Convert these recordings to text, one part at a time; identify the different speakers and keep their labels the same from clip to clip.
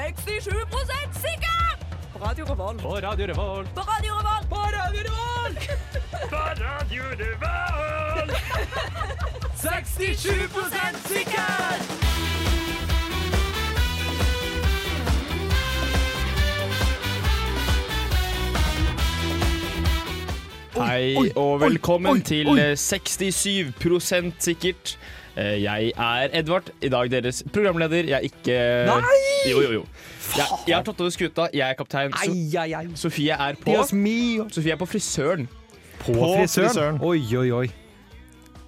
Speaker 1: 67 sikker! På Radio Revolt.
Speaker 2: På Radio Revolt.
Speaker 1: På Radio Revolt. På Radio Revolt!
Speaker 3: Eh,
Speaker 2: 67
Speaker 1: sikker!
Speaker 2: Hei
Speaker 4: oi,
Speaker 2: og
Speaker 4: oi,
Speaker 2: velkommen
Speaker 4: oi,
Speaker 2: til
Speaker 4: oi.
Speaker 2: eh, 67 sikkert. Eh, Jeg er Edvard, i dag deres programleder. Jeg er ikke
Speaker 4: Nei!
Speaker 2: Jo, jo, jo. Jeg, jeg har tatt over skuta. Jeg er kaptein. So
Speaker 4: Ai, ai, ai.
Speaker 2: Sofie er på
Speaker 4: Dios mio.
Speaker 2: Sofie er på frisøren.
Speaker 4: På
Speaker 5: frisøren.
Speaker 4: Oi, oi, oi.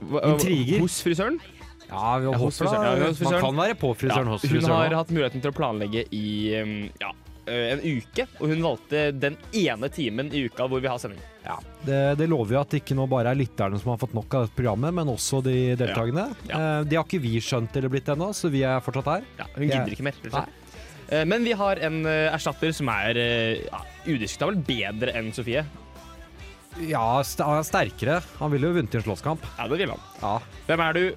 Speaker 2: Hva-
Speaker 4: Intriger.
Speaker 2: Hos frisøren.
Speaker 4: Ja, vi var
Speaker 2: Ja, hos
Speaker 4: hos frisøren.
Speaker 2: frisøren. Ja, hos
Speaker 4: Man
Speaker 2: frisøren.
Speaker 4: kan være på frisøren hos
Speaker 2: hun
Speaker 4: frisøren.
Speaker 2: har
Speaker 4: også.
Speaker 2: hatt muligheten til å planlegge i um, ja, eh, en uke, og hun valgte den ene timen i uka hvor vi har sending.
Speaker 5: Det, det lover jo at det ikke nå bare er lytterne som har fått nok av dette programmet, men også de deltakende.
Speaker 2: Ja.
Speaker 5: Eh, De har ikke vi skjønt eller blitt ennå, så vi er fortsatt her.
Speaker 2: Ja, hun
Speaker 5: Ja.
Speaker 2: gidder ikke mer. rett og slett. Eh, Men vi har en eh, erstatter som er eh, ja, udiskutabelt bedre enn Sofie.
Speaker 5: Ja, st han er sterkere. Han ville jo vunnet i en slåsskamp.
Speaker 2: Ja, det vil han.
Speaker 5: Ja.
Speaker 2: Hvem er du?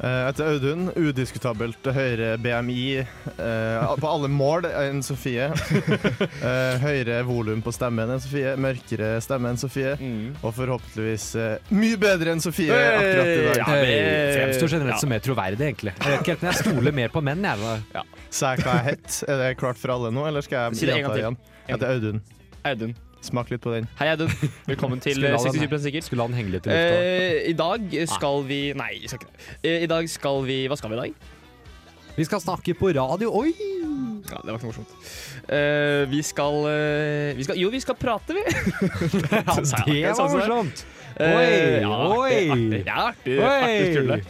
Speaker 3: Eh, Jeg heter Audun. Udiskutabelt høyere BMI eh, på alle mål enn Sofie. Eh, høyere volum på stemmen enn Sofie. Mørkere stemme enn Sofie.
Speaker 2: Mm.
Speaker 3: Og forhåpentligvis eh, mye bedre enn Sofie akkurat i dag.
Speaker 2: Ja, det-
Speaker 5: Eh, Fremstår generelt
Speaker 2: ja.
Speaker 5: som mer troverdig, egentlig. Jeg vet ikke helt, men jeg stoler mer på menn, jeg. da.
Speaker 3: Sa jeg hva jeg het? Er det klart for alle nå, eller skal
Speaker 2: Si det en gang
Speaker 3: jeg gjenta det
Speaker 2: til.
Speaker 3: igjen? Jeg heter Audun.
Speaker 2: Audun.
Speaker 3: Smak litt på den.
Speaker 2: Hei, Audun. Velkommen til
Speaker 5: Skulle
Speaker 2: eh,
Speaker 5: la den-
Speaker 2: 67 sikkert.
Speaker 5: Skulle la den henge litt i lufta.
Speaker 2: Eh, I dag
Speaker 3: Ah.
Speaker 2: skal vi Nei, vi skal ikke det. Eh, I dag skal vi Hva skal vi i dag?
Speaker 5: Vi skal snakke på radio. Oi!
Speaker 2: Ja, Det var ikke morsomt. Eh, vi, skal, eh, vi skal Jo, vi skal prate, vi.
Speaker 5: Ja,
Speaker 2: Så sa jeg
Speaker 5: det var
Speaker 2: akkurat sånn som det er.
Speaker 5: morsomt!
Speaker 2: Eh,
Speaker 5: Oi,
Speaker 2: ja,
Speaker 5: oi.
Speaker 2: artig, artig. Ja, artig, artig
Speaker 5: Oi!
Speaker 2: skrulle.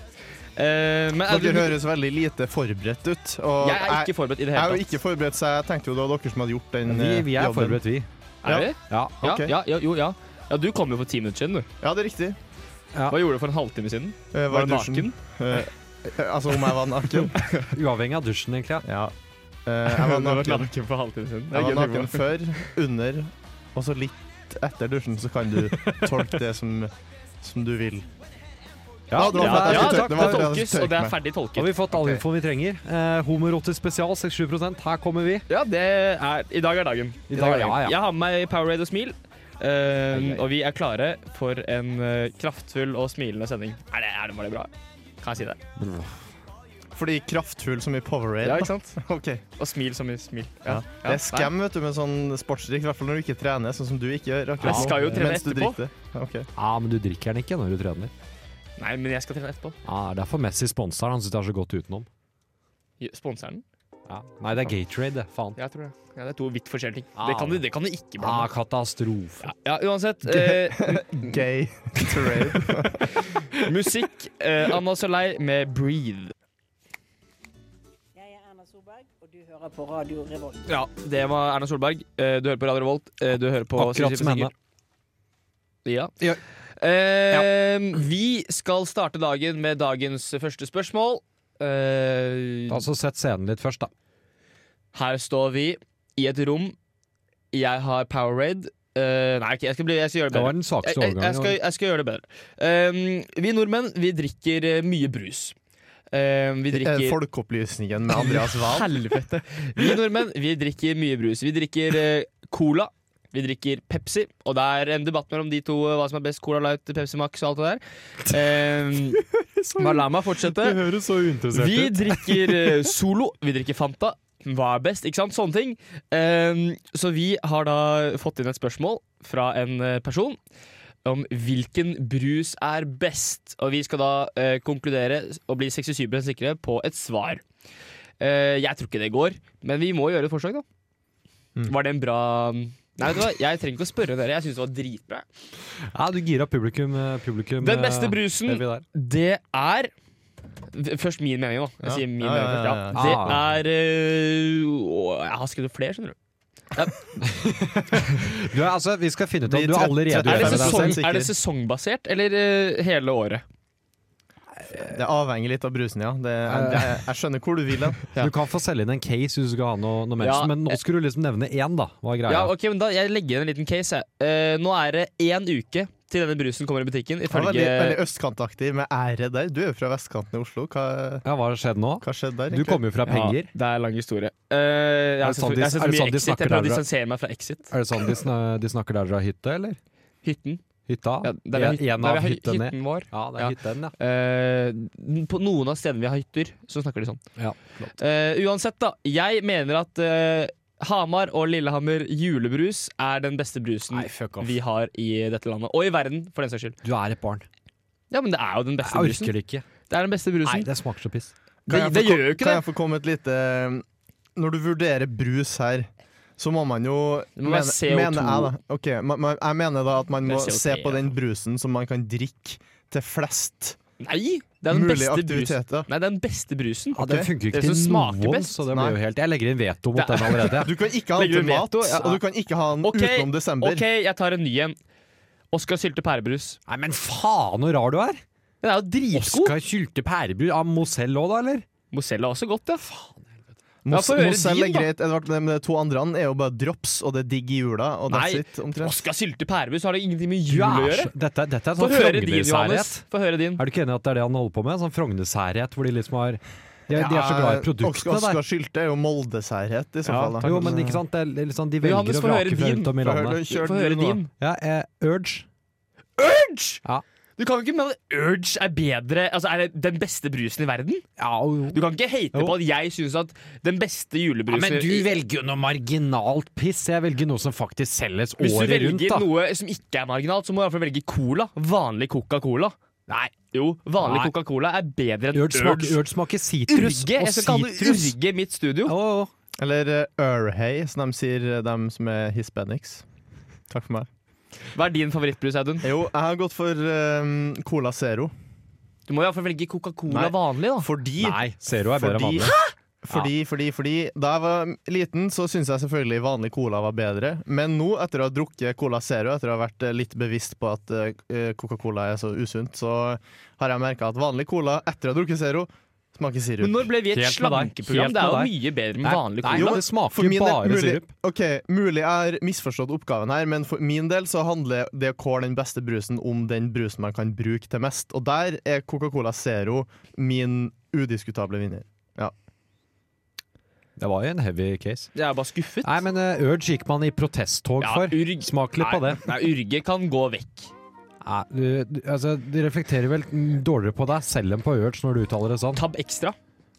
Speaker 2: Eh, men
Speaker 3: Dere
Speaker 2: Audun,
Speaker 3: høres veldig lite forberedt ut. Og
Speaker 2: jeg er ikke forberedt i det
Speaker 3: jeg er jo
Speaker 2: hele tatt.
Speaker 3: ikke forberedt, så jeg tenkte jo det var dere som hadde gjort den
Speaker 5: Vi,
Speaker 3: eh,
Speaker 5: vi er
Speaker 3: jobben.
Speaker 5: forberedt, vi.
Speaker 2: Er
Speaker 3: Ja.
Speaker 2: det?
Speaker 5: Ja.
Speaker 2: Ja,
Speaker 3: Ok.
Speaker 2: ja, ja, jo, ja. ja, du kom jo for ti minutter siden, du.
Speaker 3: Ja, det er riktig.
Speaker 2: Hva gjorde du for en halvtime siden?
Speaker 3: Eh,
Speaker 2: Var
Speaker 3: i
Speaker 2: du
Speaker 3: dusjen.
Speaker 2: naken?
Speaker 3: Eh, altså, om jeg var naken?
Speaker 5: Uavhengig av dusjen, egentlig. ja.
Speaker 3: Ja. Eh, jeg var naken,
Speaker 2: naken for halvtime siden.
Speaker 3: jeg var naken før, under og så litt etter dusjen, så kan du tolke det som, som du vil. Ja, det var
Speaker 2: Ja,
Speaker 3: Jeg
Speaker 2: ja, takk,
Speaker 3: skulle tørke- det
Speaker 2: det
Speaker 3: var det jeg
Speaker 2: tolkes,
Speaker 3: skulle
Speaker 2: og det er
Speaker 3: tørke
Speaker 2: ferdig
Speaker 5: Da har
Speaker 2: tolket.
Speaker 5: vi fått all
Speaker 3: Ok.
Speaker 5: infoen vi trenger. Eh, Homorotisk spesial, 67 her kommer vi.
Speaker 2: Ja, det er, I dag er dagen.
Speaker 5: I dag er
Speaker 2: dagen.
Speaker 5: dagen, ja.
Speaker 2: Jeg har med meg Powerade og Smil. eh,
Speaker 5: ai.
Speaker 2: og vi er klare for en eh, kraftfull og smilende sending. Er det, er det, var det bra? Kan jeg si det?
Speaker 3: Fordi kraftfull som i Powerade.
Speaker 2: Ja,
Speaker 3: da.
Speaker 2: ikke sant?
Speaker 3: Ok.
Speaker 2: Og smil som i smil.
Speaker 3: Ja.
Speaker 2: Ja.
Speaker 3: Det er skam vet du, med sånn sportsdrikk, i hvert fall når du ikke trener, sånn som du ikke gjør. akkurat
Speaker 2: Jeg
Speaker 3: nå,
Speaker 2: skal jo trene
Speaker 3: mens du
Speaker 2: etterpå.
Speaker 3: drikker det. Ja, ok.
Speaker 5: Ja, men du drikker den ikke når du trener.
Speaker 2: Nei, Nei, men jeg skal trene etterpå.
Speaker 5: Ja, det er derfor Messi sponser den. Han syns det er så godt utenom.
Speaker 2: Sponser den?
Speaker 5: Ja. Nei, det er Gatorade, det. Faen.
Speaker 2: Jeg tror det. Ja, det er to vidt forskjellige ting.
Speaker 5: Ah,
Speaker 2: det, kan du, det kan du ikke
Speaker 5: Ah,
Speaker 2: blande.
Speaker 5: katastrofe.
Speaker 2: Ja, ja, uansett. eh,
Speaker 3: Gay terrain.
Speaker 2: Musikk. eh, Anna Soleil med 'Breathe'.
Speaker 1: Jeg er Erna Solberg, og du hører på Radio Revolt.
Speaker 2: Ja, det var Erna Solberg. Eh, du hører på Radio Revolt. Eh, du hører på
Speaker 5: Akkurat
Speaker 2: Sissy
Speaker 5: som henne.
Speaker 2: Sikker. Ja.
Speaker 5: Ja.
Speaker 2: Eh, Vi skal starte dagen med dagens første spørsmål. Eh,
Speaker 5: Altså, sett scenen litt først, da.
Speaker 2: her står vi i et rom. Jeg har Powerade. Eh, nei, ok, jeg skal, bli, jeg skal gjøre det
Speaker 5: Det
Speaker 2: bedre.
Speaker 5: var den
Speaker 2: Jeg,
Speaker 5: svakeste
Speaker 2: jeg, jeg, skal,
Speaker 5: overgangen.
Speaker 2: jeg skal gjøre det bedre. Eh, vi nordmenn vi drikker eh, mye brus. Eh, vi
Speaker 3: Eh,
Speaker 2: drikker
Speaker 3: Folkeopplysningen med Andreas Wahl.
Speaker 2: Helvete. Vi nordmenn vi drikker mye brus. Vi drikker eh, cola. Vi drikker Pepsi, og det er en debatt mellom de to eh, hva som er best. Cola Light, Pepsi Max og alt det der. Eh, bare la meg fortsette.
Speaker 5: høres så uinteressert
Speaker 2: Vi drikker eh, Solo. Vi drikker Fanta. Hva er best? Ikke sant? Sånne ting. Eh, så vi har da fått inn et spørsmål fra en eh, person om hvilken brus er best. Og vi skal da eh, konkludere og bli 67 sikre på et svar. Eh, jeg tror ikke det går, men vi må gjøre et forsøk, da.
Speaker 3: Mm.
Speaker 2: Var det en bra Nei, vet du hva? jeg trenger ikke å spørre dere. Jeg syns det var dritbra.
Speaker 5: Ja, du gira publikum. eh, publikum
Speaker 2: Den
Speaker 5: eh,
Speaker 2: beste
Speaker 5: er
Speaker 2: brusen
Speaker 5: vi der.
Speaker 2: det er v- Først min mening, da. Jeg
Speaker 3: Ja.
Speaker 2: sier min
Speaker 3: Ja, ja,
Speaker 2: mening først. Ja.
Speaker 5: ja.
Speaker 3: ja,
Speaker 2: Det
Speaker 5: Ah.
Speaker 2: er øh, å, Jeg har skrevet flere, skjønner du.
Speaker 5: Du, altså, vi skal finne ut om
Speaker 3: Vi
Speaker 5: du
Speaker 3: trett-
Speaker 5: allerede
Speaker 2: Er det,
Speaker 3: trettfem er
Speaker 5: deg.
Speaker 3: sesong-
Speaker 2: sesong,
Speaker 3: sikker.
Speaker 2: er det sesongbasert eller øh, hele året?
Speaker 3: Det avhenger litt av brusen, ja. Det, jeg, jeg, jeg skjønner hvor du vil hen.
Speaker 2: Eh. Ja.
Speaker 5: Du kan få selge inn en case hvis du skal ha noe, noe
Speaker 2: Ja,
Speaker 5: mensen, men nå skulle du liksom nevne én, da. Hva er greia?
Speaker 2: Ja, ok, men da Jeg legger inn en liten case. Jeg. Eh, nå er det én uke til denne brusen kommer i butikken,
Speaker 3: Det var veldig,
Speaker 2: ifølge
Speaker 3: veldig østkantaktig med ære der. Du er jo fra vestkanten i Oslo. Hva,
Speaker 5: Ja, hva har skjedd nå?
Speaker 3: hva skjedde der?
Speaker 5: Du
Speaker 3: egentlig?
Speaker 5: kommer jo fra penger.
Speaker 2: Ja, det er en lang historie. Eh, jeg har
Speaker 5: det
Speaker 2: sett
Speaker 5: sånn
Speaker 2: så-
Speaker 5: de-
Speaker 2: jeg har sett
Speaker 5: er
Speaker 2: så
Speaker 5: det
Speaker 2: mye
Speaker 5: sånn de
Speaker 2: Exit. Jeg
Speaker 5: snakker
Speaker 2: prøver å
Speaker 5: der, da?
Speaker 2: distansere meg fra Exit.
Speaker 5: Er det sånn de, sna de snakker der dere har hytte, eller?
Speaker 2: Hytten.
Speaker 5: Hytta?
Speaker 2: Ja, der vi har
Speaker 5: en
Speaker 2: hyt- der vi
Speaker 5: av
Speaker 2: har hy-
Speaker 5: hyttene.
Speaker 2: hytten vår.
Speaker 5: Ja, det
Speaker 2: Ja.
Speaker 5: er hytten, ja.
Speaker 2: Eh, på noen av stedene vi har hytter, så snakker de sånn.
Speaker 5: ja.
Speaker 2: Eh, uansett, da. Jeg mener at eh, Hamar og Lillehammer julebrus er den beste brusen
Speaker 4: Nei, fuck off.
Speaker 2: vi har i dette landet. Og i verden, for den saks skyld.
Speaker 5: Du er et barn.
Speaker 2: Ja, men det er jo den beste
Speaker 5: Jeg
Speaker 2: brusen.
Speaker 5: orker det ikke.
Speaker 2: Det er den beste brusen.
Speaker 5: Nei, det smaker så piss.
Speaker 2: det,
Speaker 3: Kan jeg
Speaker 2: det
Speaker 3: få
Speaker 2: gjør
Speaker 3: kom-
Speaker 2: jo ikke
Speaker 3: Kan
Speaker 2: det.
Speaker 3: jeg få komme et lite um, Når du vurderer brus her, så må man jo
Speaker 2: Det må være CO2.
Speaker 3: mener jeg, da, Ok, man, man, jeg mener da at man
Speaker 2: Det er
Speaker 3: må
Speaker 2: CO2,
Speaker 3: se på
Speaker 2: ja.
Speaker 3: den brusen som man kan drikke til flest
Speaker 2: Nei, det er den
Speaker 3: mulige
Speaker 2: beste brusen.
Speaker 3: aktiviteter.
Speaker 2: Nei, det er den beste brusen.
Speaker 5: Ja, Den funker jo
Speaker 2: Det
Speaker 5: ikke til
Speaker 2: som smaker
Speaker 5: noen,
Speaker 2: best.
Speaker 5: så det blir jo helt Jeg legger inn veto mot
Speaker 2: Det er-
Speaker 5: den allerede.
Speaker 3: Du kan ikke ha den
Speaker 2: Legger
Speaker 3: til
Speaker 2: du
Speaker 3: mat,
Speaker 2: veto? Ja.
Speaker 3: og du kan ikke ha den
Speaker 2: Ok,
Speaker 3: utenom desember.
Speaker 2: OK, jeg tar en ny en. Oskar sylte pærebrus.
Speaker 5: Nei, men faen så rar du er!
Speaker 2: Den er jo dritgod.
Speaker 5: Oskar Kylte Pærebrus av Mozell òg, da, eller?
Speaker 2: Mozella er også godt, ja.
Speaker 3: Mos-
Speaker 2: Ja, få høre
Speaker 3: Mozell er
Speaker 2: din, da.
Speaker 3: greit, Edvard, men de to andre er jo bare drops, og det er digg i jula, og
Speaker 2: Nei.
Speaker 3: that's it, omtrent.
Speaker 2: Oskar sylte pærebrus har det ingenting med
Speaker 5: Du
Speaker 2: jul å
Speaker 5: er
Speaker 2: gjøre.
Speaker 5: så- Dette, dette er
Speaker 2: Få
Speaker 5: sånn
Speaker 2: høre din,
Speaker 5: Frogner-særhet.
Speaker 2: Johannes. Få høre din.
Speaker 5: Er du ikke enig i at det er det han holder på med? Sånn Frogner-særhet, hvor de liksom har de, de er så glad i produktene
Speaker 3: Eh, Oskar,
Speaker 5: der.
Speaker 3: Oskar Sylte er jo moldesærhet, i så
Speaker 2: Ja,
Speaker 3: fall. da.
Speaker 5: Jo, men ikke sant, det er litt sånn, de velger
Speaker 2: Johannes,
Speaker 5: å
Speaker 2: få høre
Speaker 5: vrake fra
Speaker 2: din.
Speaker 5: rundt om i
Speaker 3: Få høre-
Speaker 5: landet.
Speaker 3: kjør
Speaker 2: Få
Speaker 3: du
Speaker 2: høre
Speaker 3: nå, da.
Speaker 2: din.
Speaker 5: Ja, eh, Urge.
Speaker 2: Urge!
Speaker 5: Ja.
Speaker 2: Du kan ikke mene at Urge er bedre Altså er det den beste brusen i verden.
Speaker 5: Ja, jo.
Speaker 2: Du kan ikke hate
Speaker 5: Jo.
Speaker 2: på at jeg syns at den beste julebrusen i-
Speaker 5: velger jo noe marginalt piss. Jeg velger noe som faktisk selges
Speaker 2: Hvis du velger noe som ikke er marginalt, så må du i hvert fall velge cola. Vanlig Coca-Cola. Nei. Jo, vanlig
Speaker 5: Nei.
Speaker 2: Coca-Cola er bedre enn
Speaker 5: Urge
Speaker 2: Urge.
Speaker 5: smaker, urge smaker sitrus.
Speaker 2: Urge! Jeg skal kalle det
Speaker 5: sitrus-
Speaker 2: Urge mitt studio.
Speaker 5: Ja, ja, ja.
Speaker 3: Eller uh, Urhey, som de sier, eh, dem som er hispanics. Takk for meg.
Speaker 2: Hva er din favorittbrus, Audun?
Speaker 3: Jo, jeg har gått for eh, Cola Zero.
Speaker 2: Du må i hvert fall velge Coca-Cola
Speaker 3: Nei.
Speaker 2: vanlig, da.
Speaker 3: Fordi
Speaker 5: Nei, Zero er bedre enn
Speaker 3: Fordi-
Speaker 5: vanlig.
Speaker 3: Fordi, fordi, fordi Da jeg var liten, så syntes jeg selvfølgelig vanlig cola var bedre. Men nå, etter å ha drukket Cola Zero, etter å ha vært eh, litt bevisst på at eh, Coca-Cola er så usunt, så har jeg merka at vanlig cola etter å ha drukket Zero smaker
Speaker 2: Men
Speaker 3: sirup.
Speaker 2: når ble vi et
Speaker 5: Helt med deg.
Speaker 2: slankeprogram?
Speaker 5: Helt
Speaker 2: Det er jo
Speaker 5: med
Speaker 2: mye bedre med
Speaker 5: Nei,
Speaker 2: vanlig
Speaker 5: nei,
Speaker 2: cola.
Speaker 5: det smaker
Speaker 3: For min
Speaker 5: jo
Speaker 3: del-
Speaker 5: bare
Speaker 3: mulig,
Speaker 5: sirup.
Speaker 3: Ok, Mulig jeg har misforstått oppgaven her, men for min del så handler det å kåle den beste brusen om den brusen man kan bruke til mest. Og der er Coca-Cola Zero min udiskutable vinner.
Speaker 5: Det var jo en heavy case.
Speaker 2: Jeg er bare skuffet.
Speaker 5: Nei, men eh, Urge gikk man i protesttog
Speaker 2: Ja,
Speaker 5: for.
Speaker 2: Urge-
Speaker 5: Smak litt på
Speaker 2: Nei,
Speaker 5: det.
Speaker 2: Nei, Urge kan gå vekk.
Speaker 5: Nei, du, du, altså, du reflekterer vel dårligere på deg selv enn på Urge når du uttaler det sånn.
Speaker 2: Tab ekstra.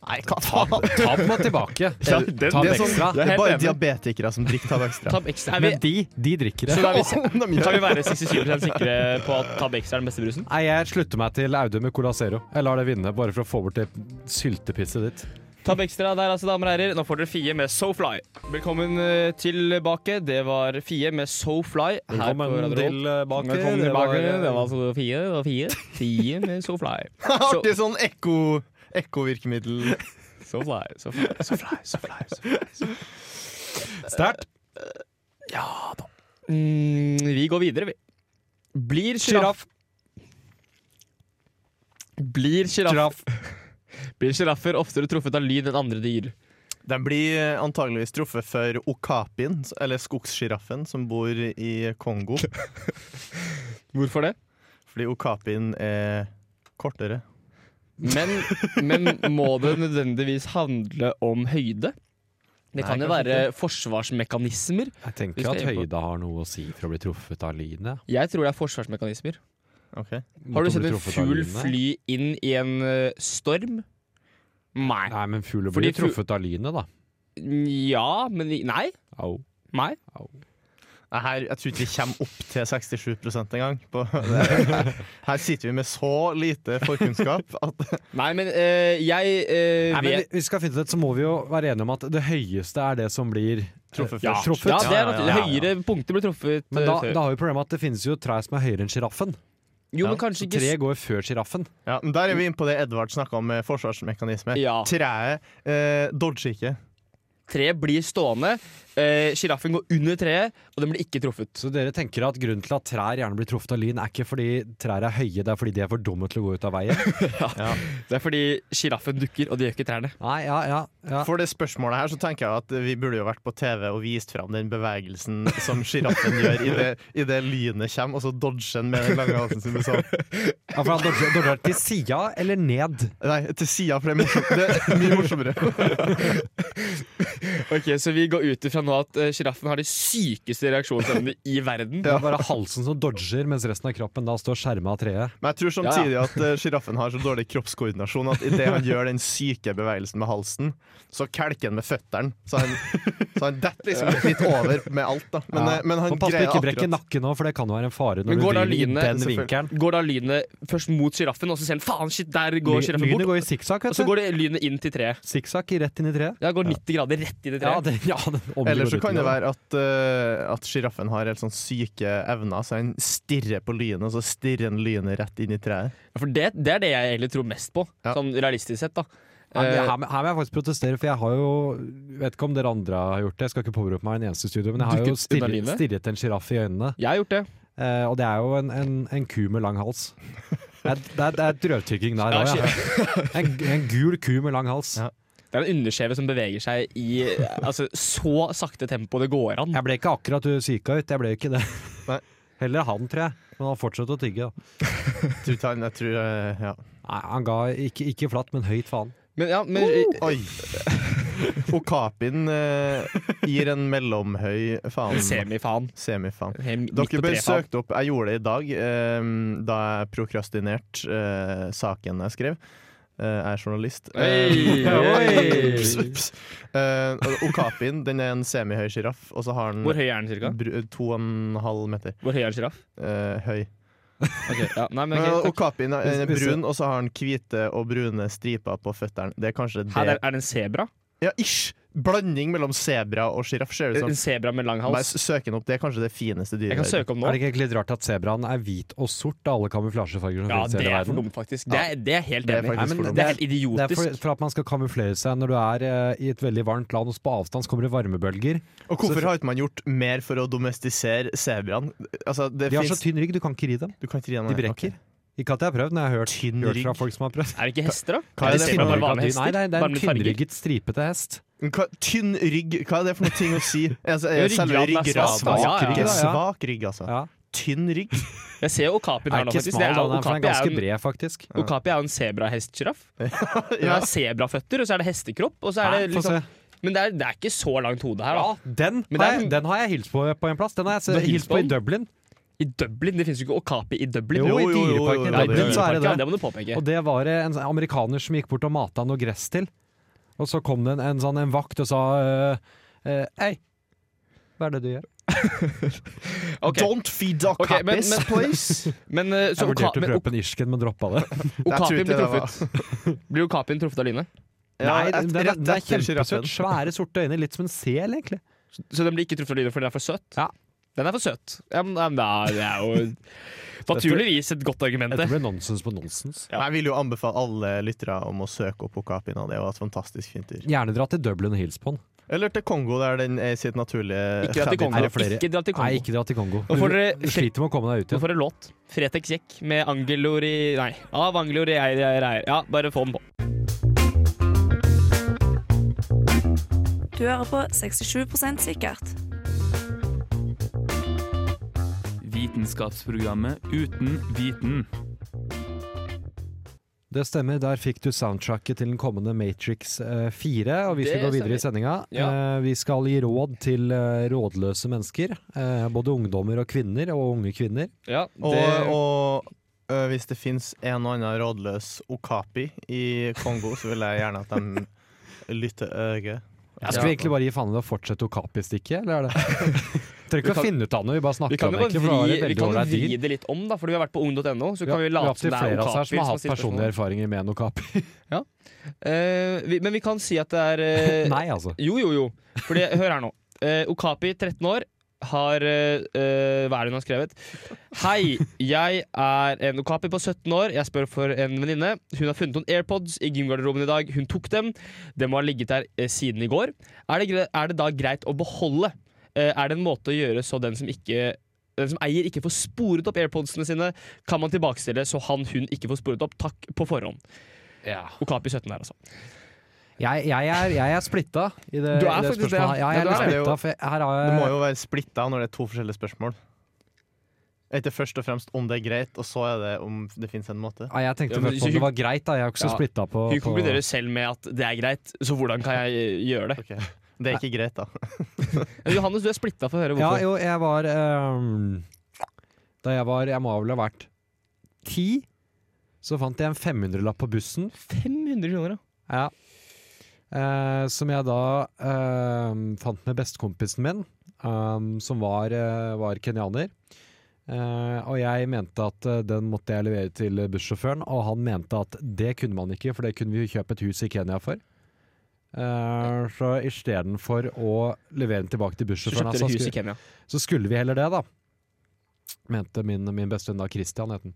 Speaker 2: Nei,
Speaker 5: Ta den tilbake.
Speaker 2: Ja, den-
Speaker 5: Ta
Speaker 3: Det
Speaker 5: den
Speaker 3: er, sånn,
Speaker 5: ekstra.
Speaker 3: det er
Speaker 2: helt
Speaker 3: bare
Speaker 2: enig.
Speaker 3: diabetikere som drikker Tab Extra.
Speaker 2: Tab ekstra. Er vi,
Speaker 5: Men de, de drikker
Speaker 2: så da
Speaker 5: det.
Speaker 2: er vi, si-
Speaker 3: Om de gjør
Speaker 2: kan vi være 67 sikre på at Tab ekstra er den beste brusen?
Speaker 5: Nei, jeg slutter meg til Audun med Cola Zero. Jeg lar det vinne, bare for å få bort det syltepisset ditt.
Speaker 2: Tab ekstra der, altså, damer og herrer. Nå får dere Fie med So Fly. Velkommen eh, tilbake. Det var Fie med So Fly her på Radio Revolt.
Speaker 5: tilbake.
Speaker 2: Velkommen tilbake. eh, Det var altså Fie og Fie. Fie med So Fly. Så-
Speaker 3: Artig sånn ekko- ekkovirkemiddel.
Speaker 2: So Fly, So Fly, So Fly. So fly, so fly.
Speaker 5: Sterkt.
Speaker 2: Mm, vi går videre, vi. Blir sjiraff Blir sjiraff-
Speaker 5: Giraff.
Speaker 2: blir sjiraffer oftere truffet av lyd enn andre dyr?
Speaker 3: Den blir eh, antageligvis truffet for okapien, s- eller skogssjiraffen, som bor i Kongo.
Speaker 2: Hvorfor det?
Speaker 3: Fordi okapien er kortere.
Speaker 2: Men, men må det nødvendigvis handle om høyde? Det
Speaker 3: Nei,
Speaker 2: kan jo
Speaker 3: kanskje
Speaker 2: være forsvarsmekanismer.
Speaker 5: Jeg
Speaker 2: Vi
Speaker 5: tenker
Speaker 2: skal
Speaker 5: at
Speaker 2: inn på-
Speaker 5: høyde har noe å si for å bli truffet av lynet.
Speaker 2: Jeg tror det er forsvarsmekanismer.
Speaker 3: Ok.
Speaker 2: Har du
Speaker 5: Mot å
Speaker 2: sett
Speaker 5: bli
Speaker 2: en
Speaker 5: truffet av
Speaker 2: fugl
Speaker 5: lynet.
Speaker 2: fly inn i en eh, storm? Nei.
Speaker 5: Nei, men fugler
Speaker 2: Fordi
Speaker 5: blir
Speaker 2: fu-
Speaker 5: truffet av lynet, da.
Speaker 2: Ja, men vi- Nei.
Speaker 5: Au.
Speaker 2: Nei.
Speaker 3: Nei, Her, jeg tror ikke vi kommer opp til 67 engang. på- det- Her sitter vi med så lite forkunnskap at
Speaker 2: Nei, men eh, jeg eh,
Speaker 5: Nei, men vi-
Speaker 2: vet
Speaker 5: vi skal finne ut, så må vi jo være enige om at det høyeste er det som blir
Speaker 3: Truffet
Speaker 5: Ja,
Speaker 3: først.
Speaker 5: truffet.
Speaker 2: Ja, det er
Speaker 3: Ja, ja,
Speaker 2: naturlig.
Speaker 3: ja,
Speaker 2: Høyere punkter blir truffet
Speaker 5: Men
Speaker 2: eh,
Speaker 5: da,
Speaker 2: før.
Speaker 5: da har vi problemet at det finnes jo trær som er høyere enn sjiraffen.
Speaker 2: jo, men
Speaker 3: ja,
Speaker 2: kanskje ikke
Speaker 5: Tre går før sjiraffen.
Speaker 3: ja, men Der er vi inne på det Edvard snakka om, eh, forsvarsmekanisme.
Speaker 2: Ja.
Speaker 3: Treet eh, dodger ikke.
Speaker 2: Tre blir stående. Eh, Sjiraffen går under treet, og den blir ikke truffet.
Speaker 5: Så dere tenker at grunnen til at trær gjerne blir truffet av lyn, er ikke fordi trær er høye, det er fordi de er for dumme til å gå ut av veien?
Speaker 2: Det er fordi sjiraffen dukker, og det gjør ikke trærne.
Speaker 5: Nei, ja, ja, ja.
Speaker 3: For det spørsmålet her så tenker jeg at vi burde jo vært på TV og vist fram den bevegelsen som sjiraffen gjør i det, i det lynet kommer, og så dodger den med den lange halsen sin. Sånn.
Speaker 5: ja for han dodger dodger til sida eller ned.
Speaker 3: Nei, til sida, for det er, morsom, det er mye morsommere.
Speaker 2: Ok, Så vi går ut ifra nå at eh, sjiraffen har de sykeste reaksjonsevnene i verden.
Speaker 5: Det er bare halsen som dodger, mens resten av kroppen da står skjerma av treet.
Speaker 3: Men jeg tror samtidig at eh, sjiraffen har så dårlig kroppskoordinasjon at idet han gjør den syke bevegelsen med halsen, så kelker han med føttene. Så han, så han detter liksom litt over med alt, da. Men,
Speaker 5: Ja.
Speaker 3: eh, men han
Speaker 5: Men pass på
Speaker 3: greier
Speaker 5: ikke brekke
Speaker 3: akkurat
Speaker 5: nakken nå, for det kan jo være en fare
Speaker 2: Men
Speaker 5: når du
Speaker 2: går da
Speaker 5: driver i
Speaker 2: lynet-
Speaker 5: den
Speaker 3: Selvfølgelig.
Speaker 5: vinkelen.
Speaker 2: Går da lynet først mot sjiraffen, og så ser han faen, shit, der går
Speaker 5: Ly-
Speaker 2: sjiraffen
Speaker 5: Lynet
Speaker 2: bort.
Speaker 5: går i sikksakk,
Speaker 2: Og så
Speaker 5: vet du.
Speaker 2: går det lynet inn til treet.
Speaker 5: Sikksakk rett inn i treet.
Speaker 2: Ja, går 90 grader rett inn i
Speaker 5: Ja,
Speaker 2: treet.
Speaker 5: det, ja, det omgår
Speaker 3: Eller så
Speaker 5: ut i
Speaker 3: kan det være at, eh, at sjiraffen har helt sånn syke evner, så han stirrer på lynet, og så stirrer han lynet rett inn i treet.
Speaker 2: Ja, For det, det er det jeg egentlig tror mest på,
Speaker 3: Ja.
Speaker 2: sånn realistisk sett. da
Speaker 5: Ja,
Speaker 2: eh,
Speaker 5: men Her, her må jeg faktisk protestere, for jeg har jo Vet ikke om dere andre har gjort det. Jeg skal ikke påberope meg en eneste studio, men jeg har jo
Speaker 2: Dukket unna
Speaker 5: stirret,
Speaker 2: livet?
Speaker 5: stirret en sjiraff i øynene.
Speaker 2: Jeg har gjort det.
Speaker 5: Eh, og det er jo en, en, en ku med lang hals. Det er, det er, det er drøvtykking der
Speaker 2: Ja,
Speaker 5: òg, ja. En, en gul ku med lang hals.
Speaker 3: Ja.
Speaker 2: Det er en underskjeve som beveger seg i altså, så sakte tempo det går an.
Speaker 5: Jeg ble ikke akkurat psyka ut, jeg ble ikke det.
Speaker 3: Nei.
Speaker 5: Heller han, tror jeg. Men han fortsatte å tygge. da.
Speaker 3: Jeg tror, han- jeg tror eh, ja.
Speaker 5: Nei, han ga ikke, ikke flatt, men høyt faen.
Speaker 2: Men, ja, men,
Speaker 3: Oi! Okapin eh, gir en mellomhøy faen.
Speaker 2: Semifaen.
Speaker 3: Semifaen.
Speaker 2: Hem- midt
Speaker 3: Dere
Speaker 2: på
Speaker 3: bør
Speaker 2: trefaen.
Speaker 3: søke det opp. Jeg gjorde det i dag, eh, da jeg prokrastinerte eh, saken jeg skrev. Eh, jeg er journalist.
Speaker 2: Oi, oi.
Speaker 3: ups, ups. Eh, og Okapien den er en semihøy sjiraff, og så har den
Speaker 2: Hvor høy er den cirka?
Speaker 3: br- to og en halv meter
Speaker 2: Hvor høy er en sjiraff?
Speaker 3: eh, høy.
Speaker 2: Ok, ja. Nei, men
Speaker 3: Men
Speaker 2: ok, takk.
Speaker 3: Okapien er den er
Speaker 5: Hvis- hvis-
Speaker 3: brun, og så har den hvite og brune striper på føttene. Det er kanskje det
Speaker 2: Her er, er det en sebra?
Speaker 3: Ja, ish! Blanding mellom sebra og sjiraff, ser det ut
Speaker 2: En
Speaker 3: som.
Speaker 2: sebra med lang
Speaker 3: Nei,
Speaker 2: hals?
Speaker 3: søk den opp. Det er kanskje det fineste dyret.
Speaker 2: Eh, Jeg kan
Speaker 3: i verden.
Speaker 2: søke om
Speaker 5: Er
Speaker 2: nå.
Speaker 5: det ikke egentlig litt rart at sebraen er hvit og sort av alle kamuflasjefarger som
Speaker 2: Ja,
Speaker 5: finnes i
Speaker 2: det
Speaker 5: hele
Speaker 2: er for
Speaker 5: verden?
Speaker 2: dumt, faktisk. Det er, det er jeg helt
Speaker 3: Det er
Speaker 2: enig. i.
Speaker 3: faktisk
Speaker 2: Nei,
Speaker 3: for
Speaker 2: men
Speaker 3: dumt.
Speaker 2: Det er helt
Speaker 5: Det er for,
Speaker 2: idiotisk.
Speaker 5: for at man skal kamuflere seg når du er eh, i et veldig varmt land, og så på avstand så kommer det varmebølger.
Speaker 3: Og hvorfor har ikke man gjort mer for å domestisere sebraen? Altså, det
Speaker 5: De har så
Speaker 3: finnes-
Speaker 5: tynn rygg, du kan ikke ri dem.
Speaker 3: Du kan ikke ri den,
Speaker 5: De
Speaker 3: nei.
Speaker 5: brekker.
Speaker 3: Ok.
Speaker 5: Ikke at jeg har prøvd, men jeg har hørt,
Speaker 3: Tynn
Speaker 5: hørt fra
Speaker 3: rygg.
Speaker 5: folk som har prøvd.
Speaker 2: Er det ikke hester, da?
Speaker 3: Hva er
Speaker 2: Er
Speaker 3: det
Speaker 2: det
Speaker 3: for
Speaker 2: sebra
Speaker 3: noe?
Speaker 2: bare vanlige
Speaker 5: Nei,
Speaker 2: hester?
Speaker 5: det er, det er
Speaker 2: Bare
Speaker 5: en
Speaker 2: med farger?
Speaker 5: tynnrygget, stripete hest.
Speaker 3: Men hva, tynn rygg, hva er det for noe ting å si? Altså, er
Speaker 2: Ryggraden
Speaker 3: selve
Speaker 2: er
Speaker 3: ryggraden
Speaker 2: svak,
Speaker 3: svak,
Speaker 2: ja, ja.
Speaker 3: rygg,
Speaker 5: Ja, ja.
Speaker 3: svak rygg, altså.
Speaker 5: Ja.
Speaker 3: Tynn rygg.
Speaker 2: Jeg ser jo okapien her
Speaker 5: Er
Speaker 2: nå,
Speaker 5: ikke
Speaker 2: faktisk. Det
Speaker 5: smal,
Speaker 2: er,
Speaker 5: da, den er, for den er
Speaker 2: okapi er
Speaker 5: ganske
Speaker 2: jo en-
Speaker 5: bred, faktisk.
Speaker 2: Okapi er jo en sebrahestsjiraff. Den
Speaker 3: Ja.
Speaker 2: har sebraføtter, og så er det hestekropp. Og så er
Speaker 5: Nei,
Speaker 2: det
Speaker 5: få
Speaker 2: liksom,
Speaker 5: se.
Speaker 2: men det er, det er ikke så langt hode her,
Speaker 5: Ja,
Speaker 2: da.
Speaker 5: den,
Speaker 2: Men det
Speaker 5: har
Speaker 2: er-
Speaker 5: jeg, den har jeg hilst på på en plass. Den har jeg
Speaker 2: Du har
Speaker 5: hilst,
Speaker 2: hilst
Speaker 5: på i
Speaker 2: på den?
Speaker 5: Dublin.
Speaker 2: I Dublin, Det fins jo ikke okapi i Dublin.
Speaker 5: Jo,
Speaker 3: Jo,
Speaker 5: i
Speaker 3: jo, jo, jo,
Speaker 5: dyreparken
Speaker 3: jo,
Speaker 5: i
Speaker 3: ja, det-
Speaker 5: Dublin så er
Speaker 2: Ja,
Speaker 5: det det.
Speaker 2: det må du påpeke.
Speaker 5: Og det var det en amerikaner som gikk bort og mata noe gress til. Og så kom det en, en, sånn, en vakt og sa eh, eh, Hei, hva er det du gjør?
Speaker 2: Ok,
Speaker 3: Don't feed the
Speaker 2: Ok, men-
Speaker 3: cappies,
Speaker 2: men-
Speaker 3: please!
Speaker 2: Men eh, så
Speaker 5: Jeg
Speaker 2: oka,
Speaker 5: vurderte å
Speaker 2: men,
Speaker 5: prøve på en irsken, men droppa det.
Speaker 2: ok-
Speaker 3: Jeg tror
Speaker 2: okapien
Speaker 3: ikke
Speaker 2: blir
Speaker 3: det var-
Speaker 2: truffet. Blir okapien truffet av lynet?
Speaker 3: Ja,
Speaker 5: Nei,
Speaker 3: et-
Speaker 5: den, er-
Speaker 3: rett
Speaker 5: den er
Speaker 3: etter
Speaker 5: kjempesøt.
Speaker 3: giraffen.
Speaker 5: Svære, sorte øyne. Litt som en sel, egentlig.
Speaker 2: Så den blir ikke truffet av lynet fordi den er for søt?
Speaker 5: Ja.
Speaker 2: Den er for søt. Ja, men, ja, men det er jo naturligvis et godt argument,
Speaker 5: Dette
Speaker 2: det.
Speaker 5: ble nonsens på nonsens.
Speaker 3: Men Jeg vil jo anbefale alle lyttere om å søke opp Okapina. Det var et fantastisk fint dyr.
Speaker 5: Gjerne dra til Dublin og hils på den.
Speaker 3: Eller til Kongo, der den er i sitt naturlige
Speaker 2: Ikke dra til Kongo.
Speaker 5: Er det flere?
Speaker 2: Ikke dra til
Speaker 5: Nei,
Speaker 2: Kongo.
Speaker 5: ikke dra til Kongo.
Speaker 2: Nå får
Speaker 5: Du
Speaker 2: dere
Speaker 5: sliter med å komme deg ut
Speaker 2: Nå
Speaker 5: igjen.
Speaker 2: får dere låt. Fretex Jekk med Angelori Nei, av Angelori Eier Eier Eier. Ja, bare få den på.
Speaker 6: Du hører på 67 sikkert.
Speaker 7: Vitenskapsprogrammet Uten viten.
Speaker 5: Det stemmer. Der fikk du soundtracket til den kommende Matrix eh, 4. Og vi skal
Speaker 2: Det
Speaker 5: gå videre
Speaker 2: stemmer.
Speaker 5: i sendinga.
Speaker 2: Ja.
Speaker 5: Eh, vi skal gi råd til eh, rådløse mennesker. eh, både ungdommer og kvinner, og unge kvinner.
Speaker 2: Ja,
Speaker 3: Og,
Speaker 2: det,
Speaker 3: og ø, hvis det fins en og annen rådløs okapi i Kongo, så vil jeg gjerne at de lytter øyet.
Speaker 5: Jeg skulle egentlig bare gi faen i det å fortsette okapi-stikket, eller er det Trenger ikke
Speaker 2: Vi
Speaker 5: å
Speaker 2: kan-
Speaker 5: finne ut av noe, vi bare
Speaker 2: vi
Speaker 5: snakker
Speaker 2: kan
Speaker 5: om
Speaker 2: jo
Speaker 5: det. egentlig,
Speaker 2: bare
Speaker 5: for det var
Speaker 2: vri,
Speaker 5: et
Speaker 2: vi
Speaker 5: veldig
Speaker 2: kan jo
Speaker 5: ålreit
Speaker 2: vri
Speaker 5: dyr.
Speaker 2: det litt om, da, for vi har vært på ung.no. Så
Speaker 5: Vi har-
Speaker 2: kan
Speaker 5: vi
Speaker 2: vi
Speaker 5: har
Speaker 2: late
Speaker 5: hatt
Speaker 2: som det
Speaker 5: flere
Speaker 2: er
Speaker 5: av oss her som
Speaker 2: okapier
Speaker 5: har
Speaker 2: som har
Speaker 5: hatt
Speaker 2: stilt
Speaker 5: personlige
Speaker 2: spørsmål.
Speaker 5: erfaringer med en okapi.
Speaker 2: Eh, vi, men vi kan si at det er eh,
Speaker 5: Nei, altså.
Speaker 2: Jo, jo, jo. Fordi, hør her nå. Eh, Okapi, 13 år, har eh, eh, Hva er det hun har skrevet? Hei, jeg er en okapi på 17 år. Jeg spør for en venninne. Hun har funnet noen AirPods i gymgarderoben i dag. Hun tok dem. De må ha ligget der eh, siden i går. Er det, gre- er det da greit å beholde? Eh, er det en måte å gjøre så den som ikke den som eier, ikke får sporet opp airpodsene sine, kan man tilbakestille så han hun ikke får sporet opp. Takk på forhånd.
Speaker 4: Ja.
Speaker 2: Okapi 17 der, altså.
Speaker 5: Jeg, jeg er, jeg er splitta i det,
Speaker 2: Du er
Speaker 5: i det
Speaker 2: faktisk det,
Speaker 5: spørsmålet. Ja, jeg
Speaker 2: ja,
Speaker 5: er
Speaker 2: du
Speaker 5: litt
Speaker 3: er det.
Speaker 5: splitta, for her har
Speaker 3: Det må
Speaker 5: jeg
Speaker 3: jo være splitta når det er to forskjellige spørsmål. Er ikke først og fremst om det er greit, og så er det om det fins en måte.
Speaker 5: ja, Jeg tenkte
Speaker 2: Ja, men
Speaker 5: først
Speaker 2: så
Speaker 5: om
Speaker 2: hun-
Speaker 5: det var greit, da. Jeg er jo ikke så
Speaker 2: Ja.
Speaker 5: splitta på,
Speaker 2: Hun
Speaker 5: på
Speaker 2: konkluderer selv med at det er greit, så hvordan kan jeg eh, gjøre det?
Speaker 3: Ok. Det er ikke greit, da.
Speaker 2: Johannes, du er splitta for å høre
Speaker 5: Ja,
Speaker 2: hvorfor.
Speaker 5: jo, jeg var ehm, Da jeg var Jeg må vel ha vært ti, så fant jeg en 500-lapp på bussen.
Speaker 2: 500 kroner, ja.
Speaker 5: Ja. Eh, som jeg da ehm, fant med bestekompisen min, ehm, som var, eh, var kenyaner. Eh, og jeg mente at eh, den måtte jeg levere til bussjåføren, og han mente at det kunne man ikke, for det kunne vi jo kjøpe et hus i Kenya for. Uh, så istedenfor å levere den tilbake til
Speaker 2: Så
Speaker 5: bussjåføren
Speaker 2: kjøpte dere
Speaker 5: altså,
Speaker 2: hus
Speaker 5: skulle-
Speaker 2: i Kenya.
Speaker 5: så skulle vi heller det, da. Mente min, min beste venn da, Christian het han.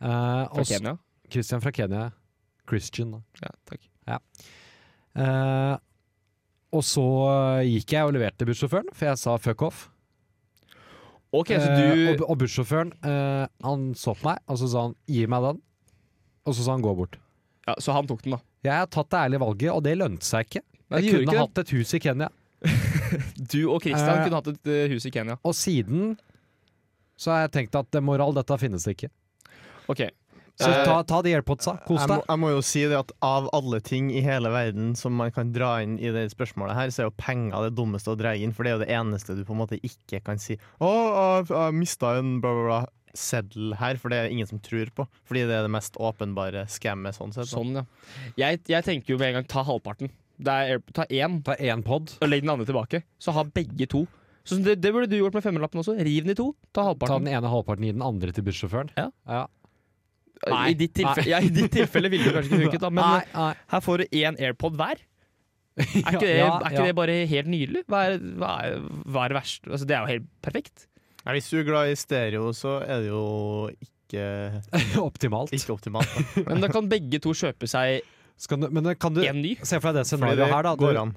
Speaker 5: Eh,
Speaker 2: Fra
Speaker 5: og s-
Speaker 2: Kenya.
Speaker 5: Christian fra Kenya. Christian, da.
Speaker 2: Ja, takk.
Speaker 5: Eh, og så eh, gikk jeg og leverte bussjåføren, for jeg sa fuck off.
Speaker 2: Ok, så
Speaker 5: Eh,
Speaker 2: du
Speaker 5: og, og bussjåføren eh, han så på meg, og så sa han gi meg den. Og så sa han gå bort.
Speaker 2: ja, Så han tok den, da.
Speaker 5: Jeg har tatt det ærlige valget, og det lønte seg ikke.
Speaker 2: Nei, det
Speaker 5: jeg
Speaker 2: gjorde
Speaker 5: kunne
Speaker 2: ikke
Speaker 5: hatt et hus i Kenya.
Speaker 2: Du og Christian
Speaker 5: Eh,
Speaker 2: kunne hatt et eh, hus i Kenya.
Speaker 5: Og siden så har jeg tenkt at eh, moral, dette finnes det ikke.
Speaker 2: Ok,
Speaker 5: Så
Speaker 3: Eh,
Speaker 5: ta, ta de airpodsa, kos
Speaker 3: Jeg må,
Speaker 5: deg.
Speaker 3: jeg må jo si det at av alle ting i hele verden som man kan dra inn i det spørsmålet her, så er jo penger det dummeste å dra inn, for det er jo det eneste du på en måte ikke kan si. Å, jeg, jeg mista en bla, bla, bla seddel her, for det er det ingen som tror på. Fordi det er det mest åpenbare skammet sånn sett. da.
Speaker 2: sånn, ja. Jeg, jeg tenker jo med en gang ta halvparten. Det er, air- ta én
Speaker 5: Ta én pod.
Speaker 2: og legg den andre tilbake. Så ha begge to. Så det, det burde du gjort med femmerlappen også. Riv den i to. Ta
Speaker 5: Ta
Speaker 2: halvparten.
Speaker 5: den ene halvparten, gi den andre til bussjåføren.
Speaker 2: Ja.
Speaker 5: Ja.
Speaker 2: I ditt tilfelle, ja, i ditt tilfelle ville det kanskje ikke funket, da, men eh,
Speaker 5: nei, nei.
Speaker 2: her får du én AirPod hver. Er ikke det,
Speaker 5: Ja,
Speaker 2: er ikke
Speaker 5: ja.
Speaker 2: det bare helt nydelig? Hva er, hva er, hva er det verste? Altså, det er jo helt perfekt.
Speaker 3: Nei, Hvis du er glad i stereo, så er det jo ikke,
Speaker 5: Optimalt.
Speaker 3: ikke optimalt. da.
Speaker 2: Men da kan begge to kjøpe seg
Speaker 5: Skal du, men eh, kan du
Speaker 2: én ny.
Speaker 5: se for deg det
Speaker 3: Fordi
Speaker 5: scenarioet
Speaker 3: det
Speaker 5: her, da? Du,
Speaker 3: går an.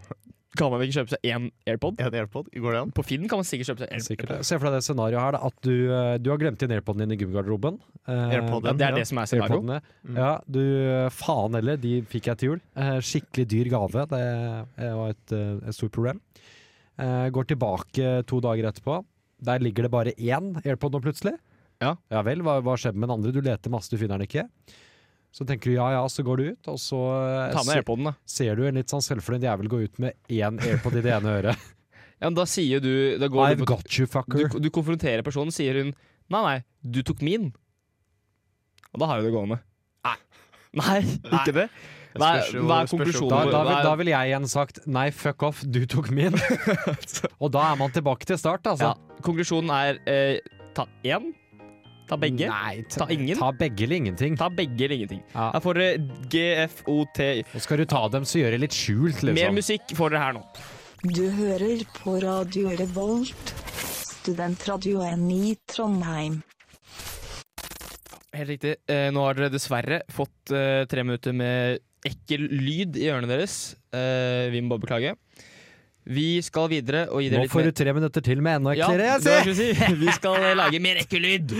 Speaker 2: Kan man ikke kjøpe seg én AirPod?
Speaker 3: Er det AirPod? Går det an?
Speaker 2: På Finn kan man sikkert kjøpe seg én
Speaker 5: sikkert, Eh,
Speaker 2: AirPod.
Speaker 5: se for deg det scenarioet her, da, at du, eh, du har glemt inn airpoden din i gymgarderoben. Eh,
Speaker 3: Airpod.
Speaker 2: Ja, det er
Speaker 3: Ja.
Speaker 2: det som er scenario.
Speaker 5: Airpodene.
Speaker 3: Mm.
Speaker 5: Ja, du eh, Faen heller, de fikk jeg til jul. Eh, skikkelig dyr gave. Det eh, var et, eh, et stort problem. Eh, går tilbake to dager etterpå. Der ligger det bare én airpod nå, plutselig.
Speaker 2: Ja.
Speaker 5: vel, hva, hva skjedde med den andre? Du leter masse, du finner den ikke. Så tenker du ja ja, så går du ut, og så eh,
Speaker 2: Ta med
Speaker 5: se,
Speaker 2: AirPoden, da.
Speaker 5: ser du en litt sånn selvfornøyd jævel gå ut med én airpod i det ene øret.
Speaker 2: Ja, men da sier jo du da går du,
Speaker 5: I've
Speaker 2: på-
Speaker 5: got you, fucker.
Speaker 2: du, du konfronterer personen, sier hun 'nei, nei, du tok min'. Og da har jo det gående. Nei. Nei, ikke det? Hva er-
Speaker 3: spørs jo-
Speaker 2: hva er
Speaker 3: spørs jo-
Speaker 2: konklusjonen?
Speaker 5: Da,
Speaker 2: på-
Speaker 5: da, vil,
Speaker 2: hva er-
Speaker 5: da vil jeg igjen sagt nei, fuck off, du tok min. Og da er man tilbake til start, altså.
Speaker 2: Ja. Konklusjonen er eh, ta én, ta begge,
Speaker 5: Nei,
Speaker 2: ta ingen.
Speaker 5: Ta begge eller ingenting.
Speaker 2: ta begge eller ingenting.
Speaker 5: Ja.
Speaker 2: Her får dere GFOT.
Speaker 5: Og skal du ta dem, så gjør det litt skjult,
Speaker 2: Mer
Speaker 5: liksom.
Speaker 2: musikk får dere her nå.
Speaker 8: Du hører på Radio Revolt, studentradioen i Trondheim.
Speaker 2: Helt riktig. Eh, nå har dere dessverre fått eh, tre minutter med ekkel lyd i ørene deres. Eh, vi må bare beklage. Vi skal videre og gi dere
Speaker 5: Nå
Speaker 2: litt
Speaker 5: får
Speaker 2: mer
Speaker 5: du tre minutter til med enda
Speaker 2: Ja,
Speaker 5: eklere.
Speaker 2: det
Speaker 5: jeg
Speaker 2: var det jeg skulle si. Vi skal eh, lage mer ekkel lyd.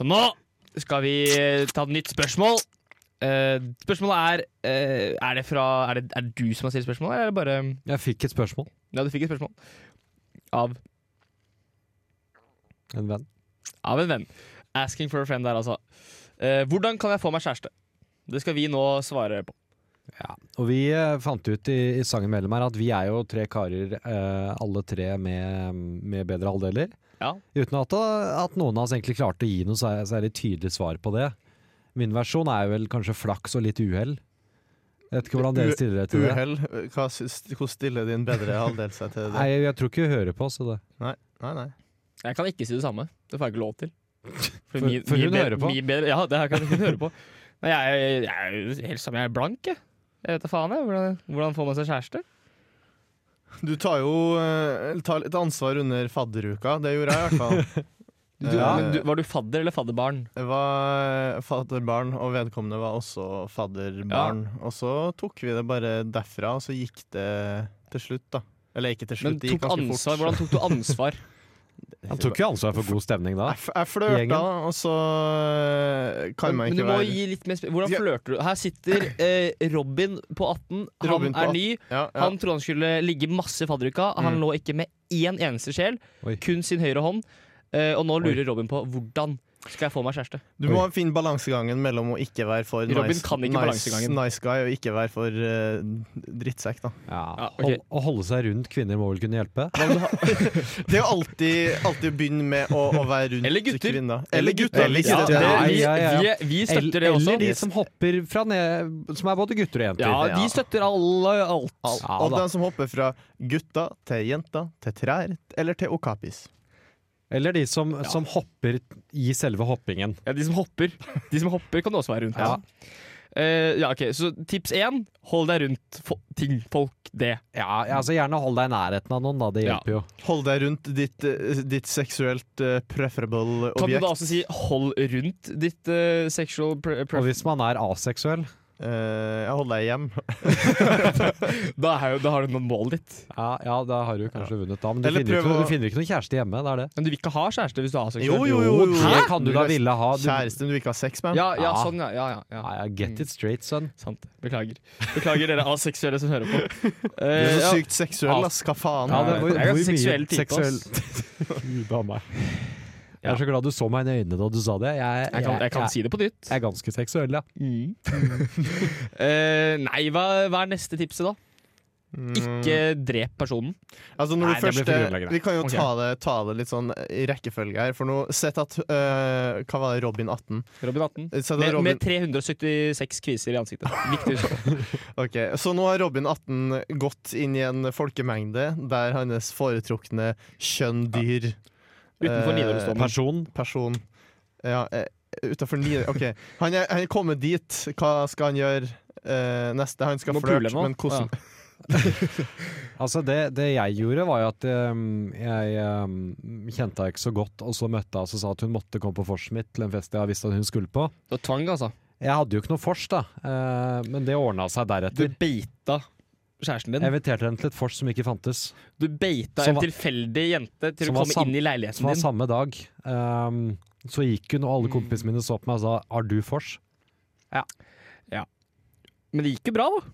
Speaker 2: Så nå skal vi eh, ta et nytt spørsmål. Eh, spørsmålet er eh, er, det fra, er, det, er det du som har stilt spørsmålet, eller er det bare
Speaker 5: sier. Jeg fikk et spørsmål.
Speaker 2: Ja, du fikk et spørsmål. Av
Speaker 5: En venn.
Speaker 2: Av en venn. Asking for a friend der, altså. Eh, hvordan kan jeg få meg kjæreste? Det skal vi nå svare på.
Speaker 5: Og vi eh, fant ut i, i sangen mellom her at vi er jo tre karer, eh, alle tre med, med bedre halvdeler.
Speaker 2: Ja.
Speaker 5: Uten at, at noen av oss egentlig klarte å gi noe sær- særlig tydelig svar på det. Min versjon er jo vel kanskje flaks og litt uhell. Jeg vet ikke hvordan
Speaker 3: U-
Speaker 5: dere stiller dere til det.
Speaker 3: Uhell? Hva syns- Hvordan stiller din bedre halvdel seg til
Speaker 5: Nei,
Speaker 3: det?
Speaker 5: jeg tror ikke hun hører på, så det
Speaker 3: Nei, nei.
Speaker 2: Jeg kan ikke si det samme. Det får jeg ikke lov til. For,
Speaker 5: for hun
Speaker 2: bedre-
Speaker 5: hører på.
Speaker 2: min bedre, ja, det her kan hun høre på. Nei, jeg, jeg, jeg er jo helt sammen, jeg er blank, jeg. Jeg vet da faen, jeg. Hvordan, hvordan får man seg kjæreste?
Speaker 3: Du tar jo eh, tar litt ansvar under fadderuka. Det gjorde jeg i hvert fall.
Speaker 2: Du,
Speaker 3: Ja.
Speaker 2: men du, var du fadder eller fadderbarn?
Speaker 3: Jeg var fadderbarn, og vedkommende var også fadderbarn. Og så tok vi det bare derfra, og så gikk det til slutt, da. Eller ikke til
Speaker 2: Men
Speaker 3: slutt, det
Speaker 2: tok
Speaker 3: gikk ganske
Speaker 2: ansvar,
Speaker 3: fort.
Speaker 2: Hvordan tok du ansvar?
Speaker 5: Han tok ikke ansvar for god stemning da.
Speaker 3: Jeg, f- jeg flørta,
Speaker 5: Gjengen.
Speaker 3: da, og så eh, kan man
Speaker 2: Men du
Speaker 3: ikke
Speaker 2: må
Speaker 3: være
Speaker 2: gi litt mer sp- Hvordan
Speaker 3: Ja.
Speaker 2: flørter du? Her sitter eh, Robin på 18. Han
Speaker 3: Robin på
Speaker 2: er
Speaker 3: 18,
Speaker 2: ny.
Speaker 3: ja, ja.
Speaker 2: Han trodde han skulle ligge masse i fadderuka. Han
Speaker 3: Mm.
Speaker 2: lå ikke med én eneste sjel,
Speaker 5: Oi.
Speaker 2: kun sin høyre hånd. Eh, og nå lurer Robin på hvordan skal jeg få meg kjæreste.
Speaker 3: Du må finne balansegangen mellom å ikke være for
Speaker 2: Robin
Speaker 3: nice,
Speaker 2: kan ikke
Speaker 3: nice,
Speaker 2: balansegangen.
Speaker 3: nice guy og ikke være for eh, drittsekk, da.
Speaker 5: Ja.
Speaker 2: Ja, ok.
Speaker 5: Hold- Å holde seg rundt kvinner må vel kunne hjelpe?
Speaker 3: Det er jo alltid, alltid å begynne med å, å være rundt
Speaker 2: Eller gutter.
Speaker 3: kvinner. Eller gutter.
Speaker 2: Eller
Speaker 3: Ja,
Speaker 2: gutter.
Speaker 3: det-
Speaker 5: Ja,
Speaker 2: vi,
Speaker 5: ja, ja, ja.
Speaker 2: Vi, vi støtter det
Speaker 5: eller,
Speaker 2: også.
Speaker 5: eller de som hopper fra ned Som er både gutter og jenter.
Speaker 2: ja,
Speaker 3: Ja.
Speaker 2: vi støtter alle alt.
Speaker 3: Alt.
Speaker 5: Ja,
Speaker 3: og
Speaker 5: da.
Speaker 3: den som hopper fra gutta til jenta til trær eller til okapis.
Speaker 5: Eller de som, som hopper i selve hoppingen.
Speaker 2: Ja, de som hopper. De som hopper kan det også være rundt.
Speaker 5: Ja.
Speaker 2: Eh, ja, ok, Så tips én hold deg rundt fo ting, folk, det.
Speaker 5: Ja, ja, altså Gjerne hold deg i nærheten av noen, da. Det
Speaker 2: Ja.
Speaker 5: hjelper jo.
Speaker 3: Hold deg rundt ditt, eh, ditt seksuelt eh, preferable
Speaker 2: Kan du da
Speaker 3: objekt.
Speaker 2: også si 'hold rundt ditt eh, sexual pre
Speaker 5: Og
Speaker 2: preference'?
Speaker 5: hvis man er aseksuell
Speaker 3: Eh, ja, hold deg hjem.
Speaker 2: Da, er jo- da har du noen mål ditt.
Speaker 5: Ja, ja da har du kanskje vunnet, da. Men du
Speaker 3: Eller
Speaker 5: finner,
Speaker 3: prøv
Speaker 5: ikke,
Speaker 3: å-
Speaker 5: du finner ikke noen kjæreste hjemme. Det er det.
Speaker 2: Men du vil ikke ha kjæreste hvis du er aseksuell.
Speaker 3: Jo, jo, jo, jo.
Speaker 5: Det kan du da
Speaker 3: er
Speaker 5: ville ha. Du,
Speaker 3: Kjæresten du ikke har sex med?
Speaker 2: Ja, ja,
Speaker 5: Ja.
Speaker 2: sånn, ja. ja, ja, ja.
Speaker 5: ja, ja, get it straight, son.
Speaker 2: Sant. Beklager. Beklager dere aseksuelle som hører på.
Speaker 3: Du er
Speaker 2: Eh,
Speaker 3: så
Speaker 2: ja.
Speaker 3: sykt seksuell, ass. Hva faen?
Speaker 5: Ja, det, hvor,
Speaker 2: Jeg er en
Speaker 5: hvor mye
Speaker 2: seksuell type, ass.
Speaker 5: seksuell- Gud a meg. Jeg er så glad du så meg i øynene da du sa det. Jeg,
Speaker 2: Jeg kan, jeg kan si Mm. det på nytt.
Speaker 5: jeg er ganske seksuell, ja.
Speaker 2: Eh, nei, hva, hva er neste tipset, da? Ikke drep personen.
Speaker 3: Mm. Altså når
Speaker 5: Nei,
Speaker 3: du
Speaker 5: det blir
Speaker 3: først,
Speaker 5: for grunnleggende.
Speaker 3: Vi kan jo
Speaker 2: Ok.
Speaker 3: ta, det, ta det litt sånn i rekkefølge her. For nå, sett at øh, Hva var det, Robin 18?
Speaker 2: Robin 18.
Speaker 3: Eh, Sett at
Speaker 2: Med,
Speaker 3: Robin,
Speaker 2: med 376 kviser i ansiktet. Viktig. å huske.
Speaker 3: ok, Så nå har Robin 18 gått inn i en folkemengde der hans foretrukne kjønn dyr
Speaker 2: Utenfor
Speaker 3: Eh,
Speaker 2: Nidarosdomen.
Speaker 5: Person.
Speaker 3: person Ja, eh, utenfor Nidar... Ok, han er, han er kommet dit. Hva skal han gjøre eh, neste? Han skal
Speaker 2: Må pule
Speaker 3: flørte,
Speaker 2: nå.
Speaker 3: men hvordan?
Speaker 5: Altså, det, det jeg gjorde, var jo at ehm, jeg ehm, kjente henne ikke så godt, og så møtte jeg henne og sa at hun måtte komme på vorset mitt til en fest jeg visste at hun skulle på.
Speaker 2: Det var tvang, altså.
Speaker 5: Jeg hadde jo ikke noe vors, da, eh, men det ordna seg
Speaker 2: Du
Speaker 5: deretter.
Speaker 2: beita kjæresten din.
Speaker 5: Jeg inviterte henne til et vors som ikke fantes,
Speaker 2: Du beita
Speaker 5: Som
Speaker 2: en
Speaker 5: var-
Speaker 2: tilfeldig jente til å
Speaker 5: Som var
Speaker 2: komme
Speaker 5: sam-
Speaker 2: inn i
Speaker 5: som
Speaker 2: leiligheten
Speaker 5: var
Speaker 2: din.
Speaker 5: samme dag. Ehm, så gikk hun, og alle kompisene mine så på meg og sa 'har du vors'?
Speaker 2: Men det gikk jo bra, da.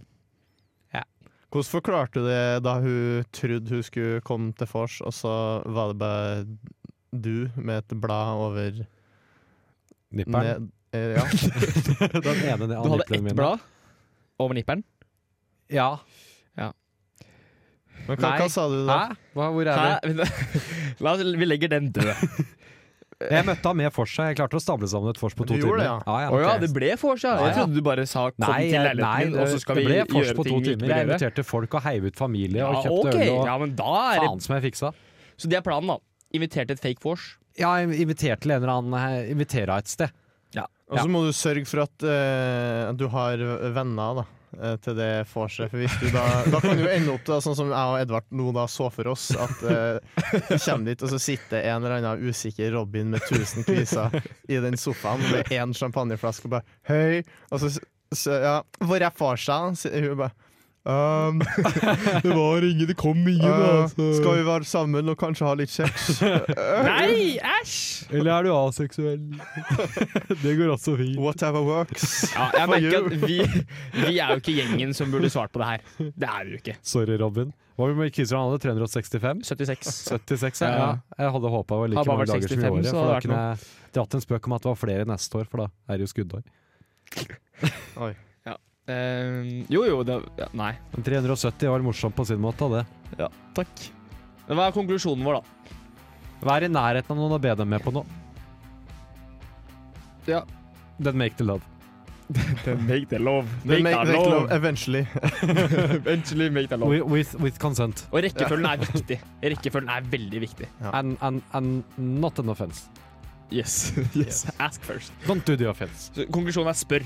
Speaker 3: Hvordan forklarte du det da hun trodde hun skulle komme til vors, og så var det bare du med et blad over
Speaker 5: Nipperen.
Speaker 3: ned, eh, ja.
Speaker 5: Den ene av
Speaker 2: Du hadde
Speaker 5: nipplene
Speaker 2: ett
Speaker 5: mine.
Speaker 2: blad over nipperen.
Speaker 5: Ja.
Speaker 3: Men hva,
Speaker 5: Nei.
Speaker 3: hva sa du da?
Speaker 5: Hva, hvor er
Speaker 2: Hæ? La oss, vi legger den død.
Speaker 5: vi? Jeg møtte ham med for seg. Jeg klarte å stable sammen et vors på
Speaker 3: Du
Speaker 5: to timer.
Speaker 3: gjorde det, ja.
Speaker 5: Ja, ja,
Speaker 2: Å ja,
Speaker 5: ok.
Speaker 2: det ble vors, ja.
Speaker 5: Ja,
Speaker 2: Jeg
Speaker 5: ja.
Speaker 2: trodde du bare sa 'kom
Speaker 5: Nei,
Speaker 2: til
Speaker 5: jeg-
Speaker 2: leiligheten min',
Speaker 5: nei,
Speaker 2: og så skal vi
Speaker 5: det ble vors på
Speaker 2: gjøre
Speaker 5: to
Speaker 2: ting vi ikke
Speaker 5: timer. Jeg
Speaker 2: burde gjøre.
Speaker 5: inviterte folk og heiv ut familie
Speaker 2: Ja,
Speaker 5: og kjøpte
Speaker 2: ok.
Speaker 5: øl. Og
Speaker 2: Ja, men da er det
Speaker 5: faen som jeg fiksa.
Speaker 2: Så det er planen, da. Invitert til et fake vors.
Speaker 5: Ja, jeg inviterte til en eller annen jeg Inviterte et sted.
Speaker 2: Altså,
Speaker 3: Og så må du sørge for at, eh, at du har venner da, eh, til det vorset. For hvis du da, da kan du jo ende opp da, sånn som jeg og Edvard nå da så for oss, at eh, vi kommer dit, og så sitter en eller annen usikker Robin med 1000 kviser i den sofaen med én champagneflaske og bare Høy! Og så, s- så ja, hvor er vorsa? Sier hun bare. «Ehm,
Speaker 2: Det var ingen, det kom
Speaker 5: Øh,
Speaker 2: altså. ingen,
Speaker 3: eh, skal vi være sammen og kanskje ha litt sex?
Speaker 2: Øh. Nei, æsj!
Speaker 5: Eller er du aseksuell? det går også fint.
Speaker 3: Whatever works.
Speaker 2: Ja, jeg merker at vi, vi er jo ikke gjengen som burde svart på det her. Det er vi jo ikke.
Speaker 5: Sorry, Robin. Hva var det med kisser han hadde? 365?
Speaker 2: 76.
Speaker 5: 76, ja.
Speaker 2: Ja.
Speaker 5: Jeg hadde håpa det var
Speaker 2: Hadde
Speaker 5: like
Speaker 2: bare
Speaker 5: mange
Speaker 2: vært
Speaker 5: dager som i
Speaker 2: 65,
Speaker 5: året.
Speaker 2: så
Speaker 5: For da
Speaker 2: hadde det vært
Speaker 5: kunne jeg dratt en spøk om at det var flere neste år, for da er det jo skuddår.
Speaker 2: Eh, jo, jo, det ja, Nei.
Speaker 5: Men 370 var morsomt på sin måte, det.
Speaker 2: Ja, takk. Hva er konklusjonen vår, da?
Speaker 5: Vær i nærheten av noen og be dem med på noe.
Speaker 2: Ja.
Speaker 5: Then make the love.
Speaker 2: Make the love.
Speaker 3: Make, make love eventually.
Speaker 2: Eventually make the
Speaker 5: With, with, with consent.
Speaker 2: Og rekkefølgen er viktig. Rekkefølgen er veldig viktig.
Speaker 5: And, and, and not an offense.
Speaker 2: Yes. yes. Ask first.
Speaker 5: Don't do the offense.
Speaker 2: Så konklusjonen er spør.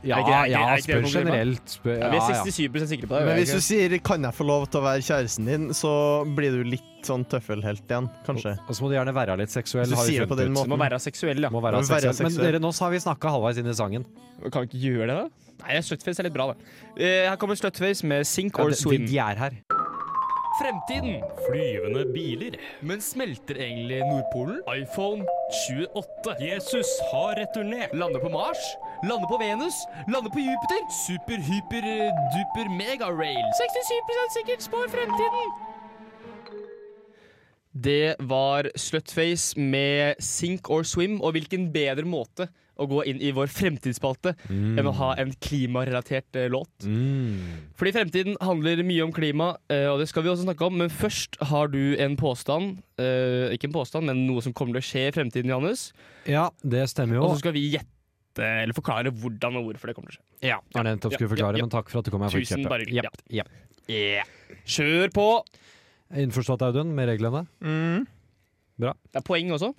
Speaker 5: Ja,
Speaker 2: Er ikke- er ikke-
Speaker 5: ja,
Speaker 2: er ikke det
Speaker 5: spør
Speaker 2: noe dilemma?
Speaker 5: generelt. Spør,
Speaker 2: Ja, vi
Speaker 5: ja, ja.
Speaker 2: er 67 sikre på det. vi
Speaker 3: Men
Speaker 2: er
Speaker 3: hvis du
Speaker 2: ikke-
Speaker 3: sier 'kan jeg få lov til å være kjæresten din', så blir du litt sånn tøffelhelt igjen, kanskje.
Speaker 5: Og så må du gjerne være litt seksuell.
Speaker 3: Hvis du
Speaker 5: har vi
Speaker 3: sier det på
Speaker 5: funnet
Speaker 3: den
Speaker 5: ut.
Speaker 2: Du må være seksuell, ja.
Speaker 5: Må være
Speaker 3: Må
Speaker 5: seksuell.
Speaker 3: være
Speaker 5: Men
Speaker 3: seksuell.
Speaker 5: dere, nå så har vi snakka halvveis inn i sangen.
Speaker 2: Kan vi ikke gjøre det, da? Nei, Slutface er litt bra, det. Eh, her kommer Slutface med Sink
Speaker 5: Ja,
Speaker 2: or
Speaker 5: de, de-
Speaker 2: Swim.
Speaker 5: de er her.
Speaker 2: Fremtiden.
Speaker 7: Flyvende biler.
Speaker 2: Men smelter egentlig Nordpolen?
Speaker 7: iPhone 28. Jesus har returnert.
Speaker 2: Lander på Mars? Lander på Venus? Lander på Jupiter? eh, Super-hyper-duper-mega-rail. 67 sikkert spår fremtiden. Det var Slutface med Sink or Swim, og hvilken bedre måte å gå inn i vår fremtidsspalte
Speaker 5: Mm.
Speaker 2: enn å ha en klimarelatert eh, låt. Fordi fremtiden handler mye om klima, eh, og det skal vi også snakke om. Men først har du en påstand. eh, Ikke en påstand, men noe som kommer til å skje i fremtiden, Johannes.
Speaker 5: Ja, det stemmer
Speaker 2: Og
Speaker 5: jo.
Speaker 2: så skal vi gjette eller forklare hvordan og hvorfor det kommer til å skje.
Speaker 5: Ja, Arne nettopp skulle
Speaker 2: ja,
Speaker 5: forklare,
Speaker 2: ja.
Speaker 5: men takk for at du kom. Jeg fikk
Speaker 2: Tusen
Speaker 5: kjøpe.
Speaker 2: bare hyggelig.
Speaker 5: Japp, japp.
Speaker 2: Kjør på!
Speaker 5: Innforstått, Audun, med reglene?
Speaker 3: Mm.
Speaker 2: Det er poeng også.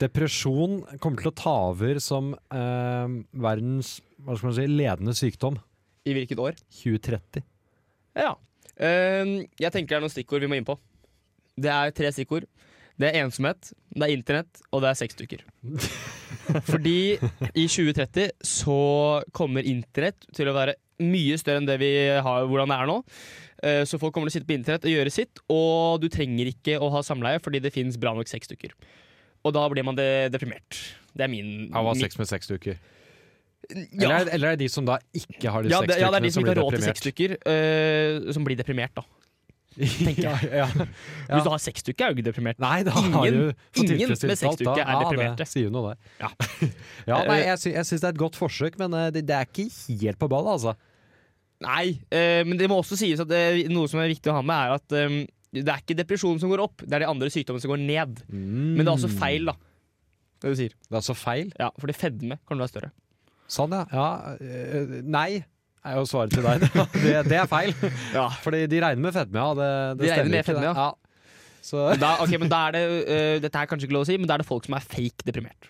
Speaker 5: Depresjon kommer til å ta over som eh, verdens hva skal man si, ledende sykdom
Speaker 2: I hvilket år?
Speaker 5: 2030.
Speaker 2: Ja. Eh, jeg tenker det er noen stikkord vi må inn på. Det er tre stikkord. Det er ensomhet, det er internett, og det er sexdukker. Fordi i 2030 så kommer internett til å være mye større enn det vi har, hvordan det er nå. Eh, Så folk kommer til å sitte på internett og gjøre sitt, og du trenger ikke å ha samleie fordi det fins bra nok sexdukker. Og da blir man de- deprimert. Det er min
Speaker 5: Av å ha
Speaker 2: min-
Speaker 5: sex med seks stykker.
Speaker 2: Ja.
Speaker 5: Eller, eller er det de som da ikke har de
Speaker 2: Ja,
Speaker 5: seks
Speaker 2: det, ja, det er de som ikke
Speaker 5: blir
Speaker 2: har råd til seks
Speaker 5: deprimert?
Speaker 2: stykker, eh, som blir deprimert, da. tenker jeg.
Speaker 5: ja, ja. Ja.
Speaker 2: Hvis du har seks stykker, er du ikke deprimert.
Speaker 5: Nei, da har
Speaker 2: Ingen-
Speaker 5: du fått
Speaker 2: ingen med
Speaker 5: tilfredsstilt
Speaker 2: seks
Speaker 5: alt, da.
Speaker 2: stykker er
Speaker 5: Ja,
Speaker 2: deprimerte.
Speaker 5: det sier jo noe der.
Speaker 2: Ja. Eh,
Speaker 5: Ja, nei, jeg, sy jeg syns det er et godt forsøk, men eh, det, det er ikke helt på ballet, altså.
Speaker 2: Nei, eh, men det må også sies at det, noe som er viktig å ha med, er at eh, det er ikke depresjonen som går opp, det er de andre sykdommene som går ned. Mm. Men det er også feil, da. Det du sier.
Speaker 5: Det er altså feil.
Speaker 2: Ja, fordi fedme kan være større.
Speaker 5: Sånn, ja. ja. eh, Nei er jo svaret til deg. da. Det, det er feil.
Speaker 2: Ja.
Speaker 5: Fordi de regner med fedme, ja. Det, det
Speaker 2: De regner
Speaker 5: stemmer ikke,
Speaker 2: med
Speaker 5: det.
Speaker 2: fedme, ja.
Speaker 5: Så
Speaker 2: Men Da, ok, men da er det eh, Dette er kanskje ikke lov å si, men da er det folk som er fake deprimert.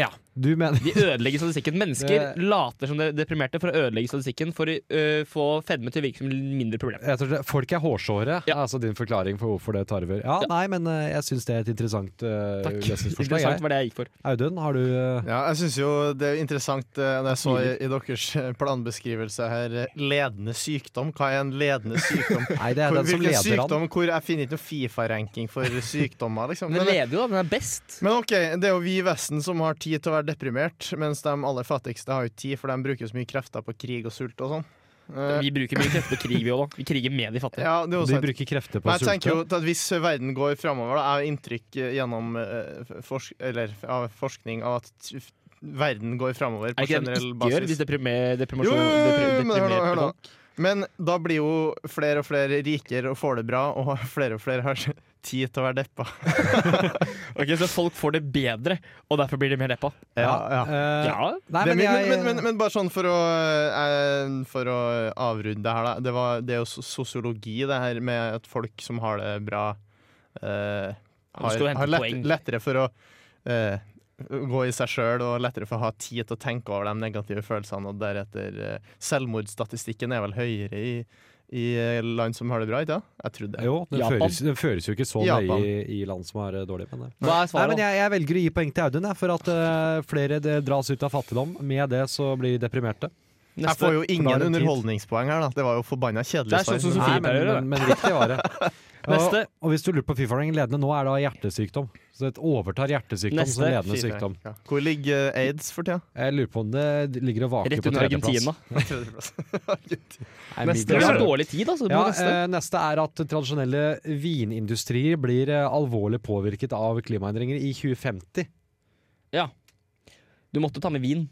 Speaker 5: ja, du mener
Speaker 2: De ødelegger statistikken. Mennesker
Speaker 5: Det-
Speaker 2: later som de er deprimerte for å ødelegge statistikken for å eh, få fedme til å virke som mindre problem.
Speaker 5: jeg tror det, Folk er hårsåre, er altså din forklaring for hvorfor det tarver. Ja, nei, men eh, jeg syns det er et interessant uh,
Speaker 2: Takk.
Speaker 5: løsningsforslag.
Speaker 2: Interessant
Speaker 5: jeg.
Speaker 2: var det jeg gikk for.
Speaker 5: Audun, har du eh,
Speaker 3: Ja, jeg syns jo det er interessant eh, når jeg så i, i deres eh, planbeskrivelse her eh, Ledende sykdom. Hva er en ledende sykdom?
Speaker 5: Nei, det er
Speaker 3: Hvor,
Speaker 5: den som
Speaker 3: hvilken
Speaker 5: leder an.
Speaker 3: sykdom? Hvor jeg finner ikke noe Fifa-ranking for sykdommer, liksom.
Speaker 2: Men den
Speaker 3: Men,
Speaker 2: leder jo, da. Den er best.
Speaker 3: men OK, det er jo vi i Vesten som har tid til å være deprimert, mens de aller fattigste har jo ikke tid, for de bruker så mye krefter på krig og sult og sånn. Eh,
Speaker 2: Vi bruker mye krefter på krig, vi òg, da. Vi kriger med de fattige.
Speaker 3: ja, det er jo
Speaker 5: De
Speaker 3: sant.
Speaker 5: bruker krefter på
Speaker 3: Men jeg tenker jo
Speaker 5: sulte.
Speaker 3: at Hvis verden går framover, da, er jo inntrykk eh, gjennom eh, forsk eller, av forskning av at t- verden går framover
Speaker 2: Er
Speaker 3: på
Speaker 2: det ikke det
Speaker 3: generell
Speaker 2: den ikke gjør
Speaker 3: basis.
Speaker 2: hvis deprimer,
Speaker 3: Jo,
Speaker 2: deprimasjon
Speaker 3: jo, jo, jo,
Speaker 2: depri-
Speaker 3: men hør nå,
Speaker 2: deprimerte
Speaker 3: hør nå.
Speaker 2: folk?
Speaker 3: Men da blir jo flere og flere rikere og får det bra, og flere og flere har tid til å være deppa.
Speaker 2: Ok, Så folk får det bedre, og derfor blir de mer deppa?
Speaker 5: eh,
Speaker 2: Ja.
Speaker 5: Nei,
Speaker 3: det er
Speaker 5: men
Speaker 3: mye,
Speaker 5: jeg
Speaker 3: men, men, men bare sånn for å, eh, for å avrunde det her, da. Det, var, det er jo sos- sosiologi, det her med at folk som har det bra, eh,
Speaker 2: Du skal
Speaker 3: har,
Speaker 2: jo hente
Speaker 3: har lett,
Speaker 2: poeng.
Speaker 3: lettere for å eh, gå i seg sjøl og lettere for å ha tid til å tenke over de negative følelsene. Og deretter eh, Selvmordsstatistikken er vel høyere i, i land som har det bra, ikke sant? Jeg trodde det.
Speaker 5: Jo, den
Speaker 2: Japan.
Speaker 5: føres, den føres jo ikke så
Speaker 3: Japan.
Speaker 5: nøye i, i land som er eh, dårlig, men eh.
Speaker 2: Hva er
Speaker 5: Nei,
Speaker 2: svaret?
Speaker 5: men
Speaker 2: da?
Speaker 5: jeg, jeg velger å gi poeng til Audun jeg, for at eh, flere eh, dras ut av fattigdom. Med det så blir de deprimerte.
Speaker 3: Jeg får
Speaker 5: Da
Speaker 3: jo
Speaker 5: er
Speaker 3: ingen
Speaker 5: det tid.
Speaker 3: underholdningspoeng her, da. Det var jo forbanna
Speaker 2: Det
Speaker 3: kjedelig.
Speaker 2: er sånn som
Speaker 3: svar.
Speaker 2: Sofie
Speaker 5: Nei, men,
Speaker 2: pleier å gjøre.
Speaker 5: men, men riktig var det. Og,
Speaker 2: Neste.
Speaker 5: og hvis du lurer på Fifa-ranking, ledende nå er da hjertesykdom. Så det overtar hjertesykdom som
Speaker 2: Neste.
Speaker 5: ledende sykdom.
Speaker 3: Ja. Hvor ligger eh, aids for tida?
Speaker 5: Jeg lurer på om det ligger og vaker
Speaker 2: Rett
Speaker 5: på
Speaker 2: under
Speaker 5: tredjeplass.
Speaker 2: Argentina.
Speaker 5: Nei,
Speaker 3: Neste.
Speaker 2: Dere har
Speaker 5: middelbra.
Speaker 2: dårlig tid, altså.
Speaker 5: Ja,
Speaker 2: neste.
Speaker 5: eh, neste er at tradisjonelle vinindustrier blir eh, alvorlig påvirket av klimaendringer i 2050.
Speaker 2: Du måtte ta med vin.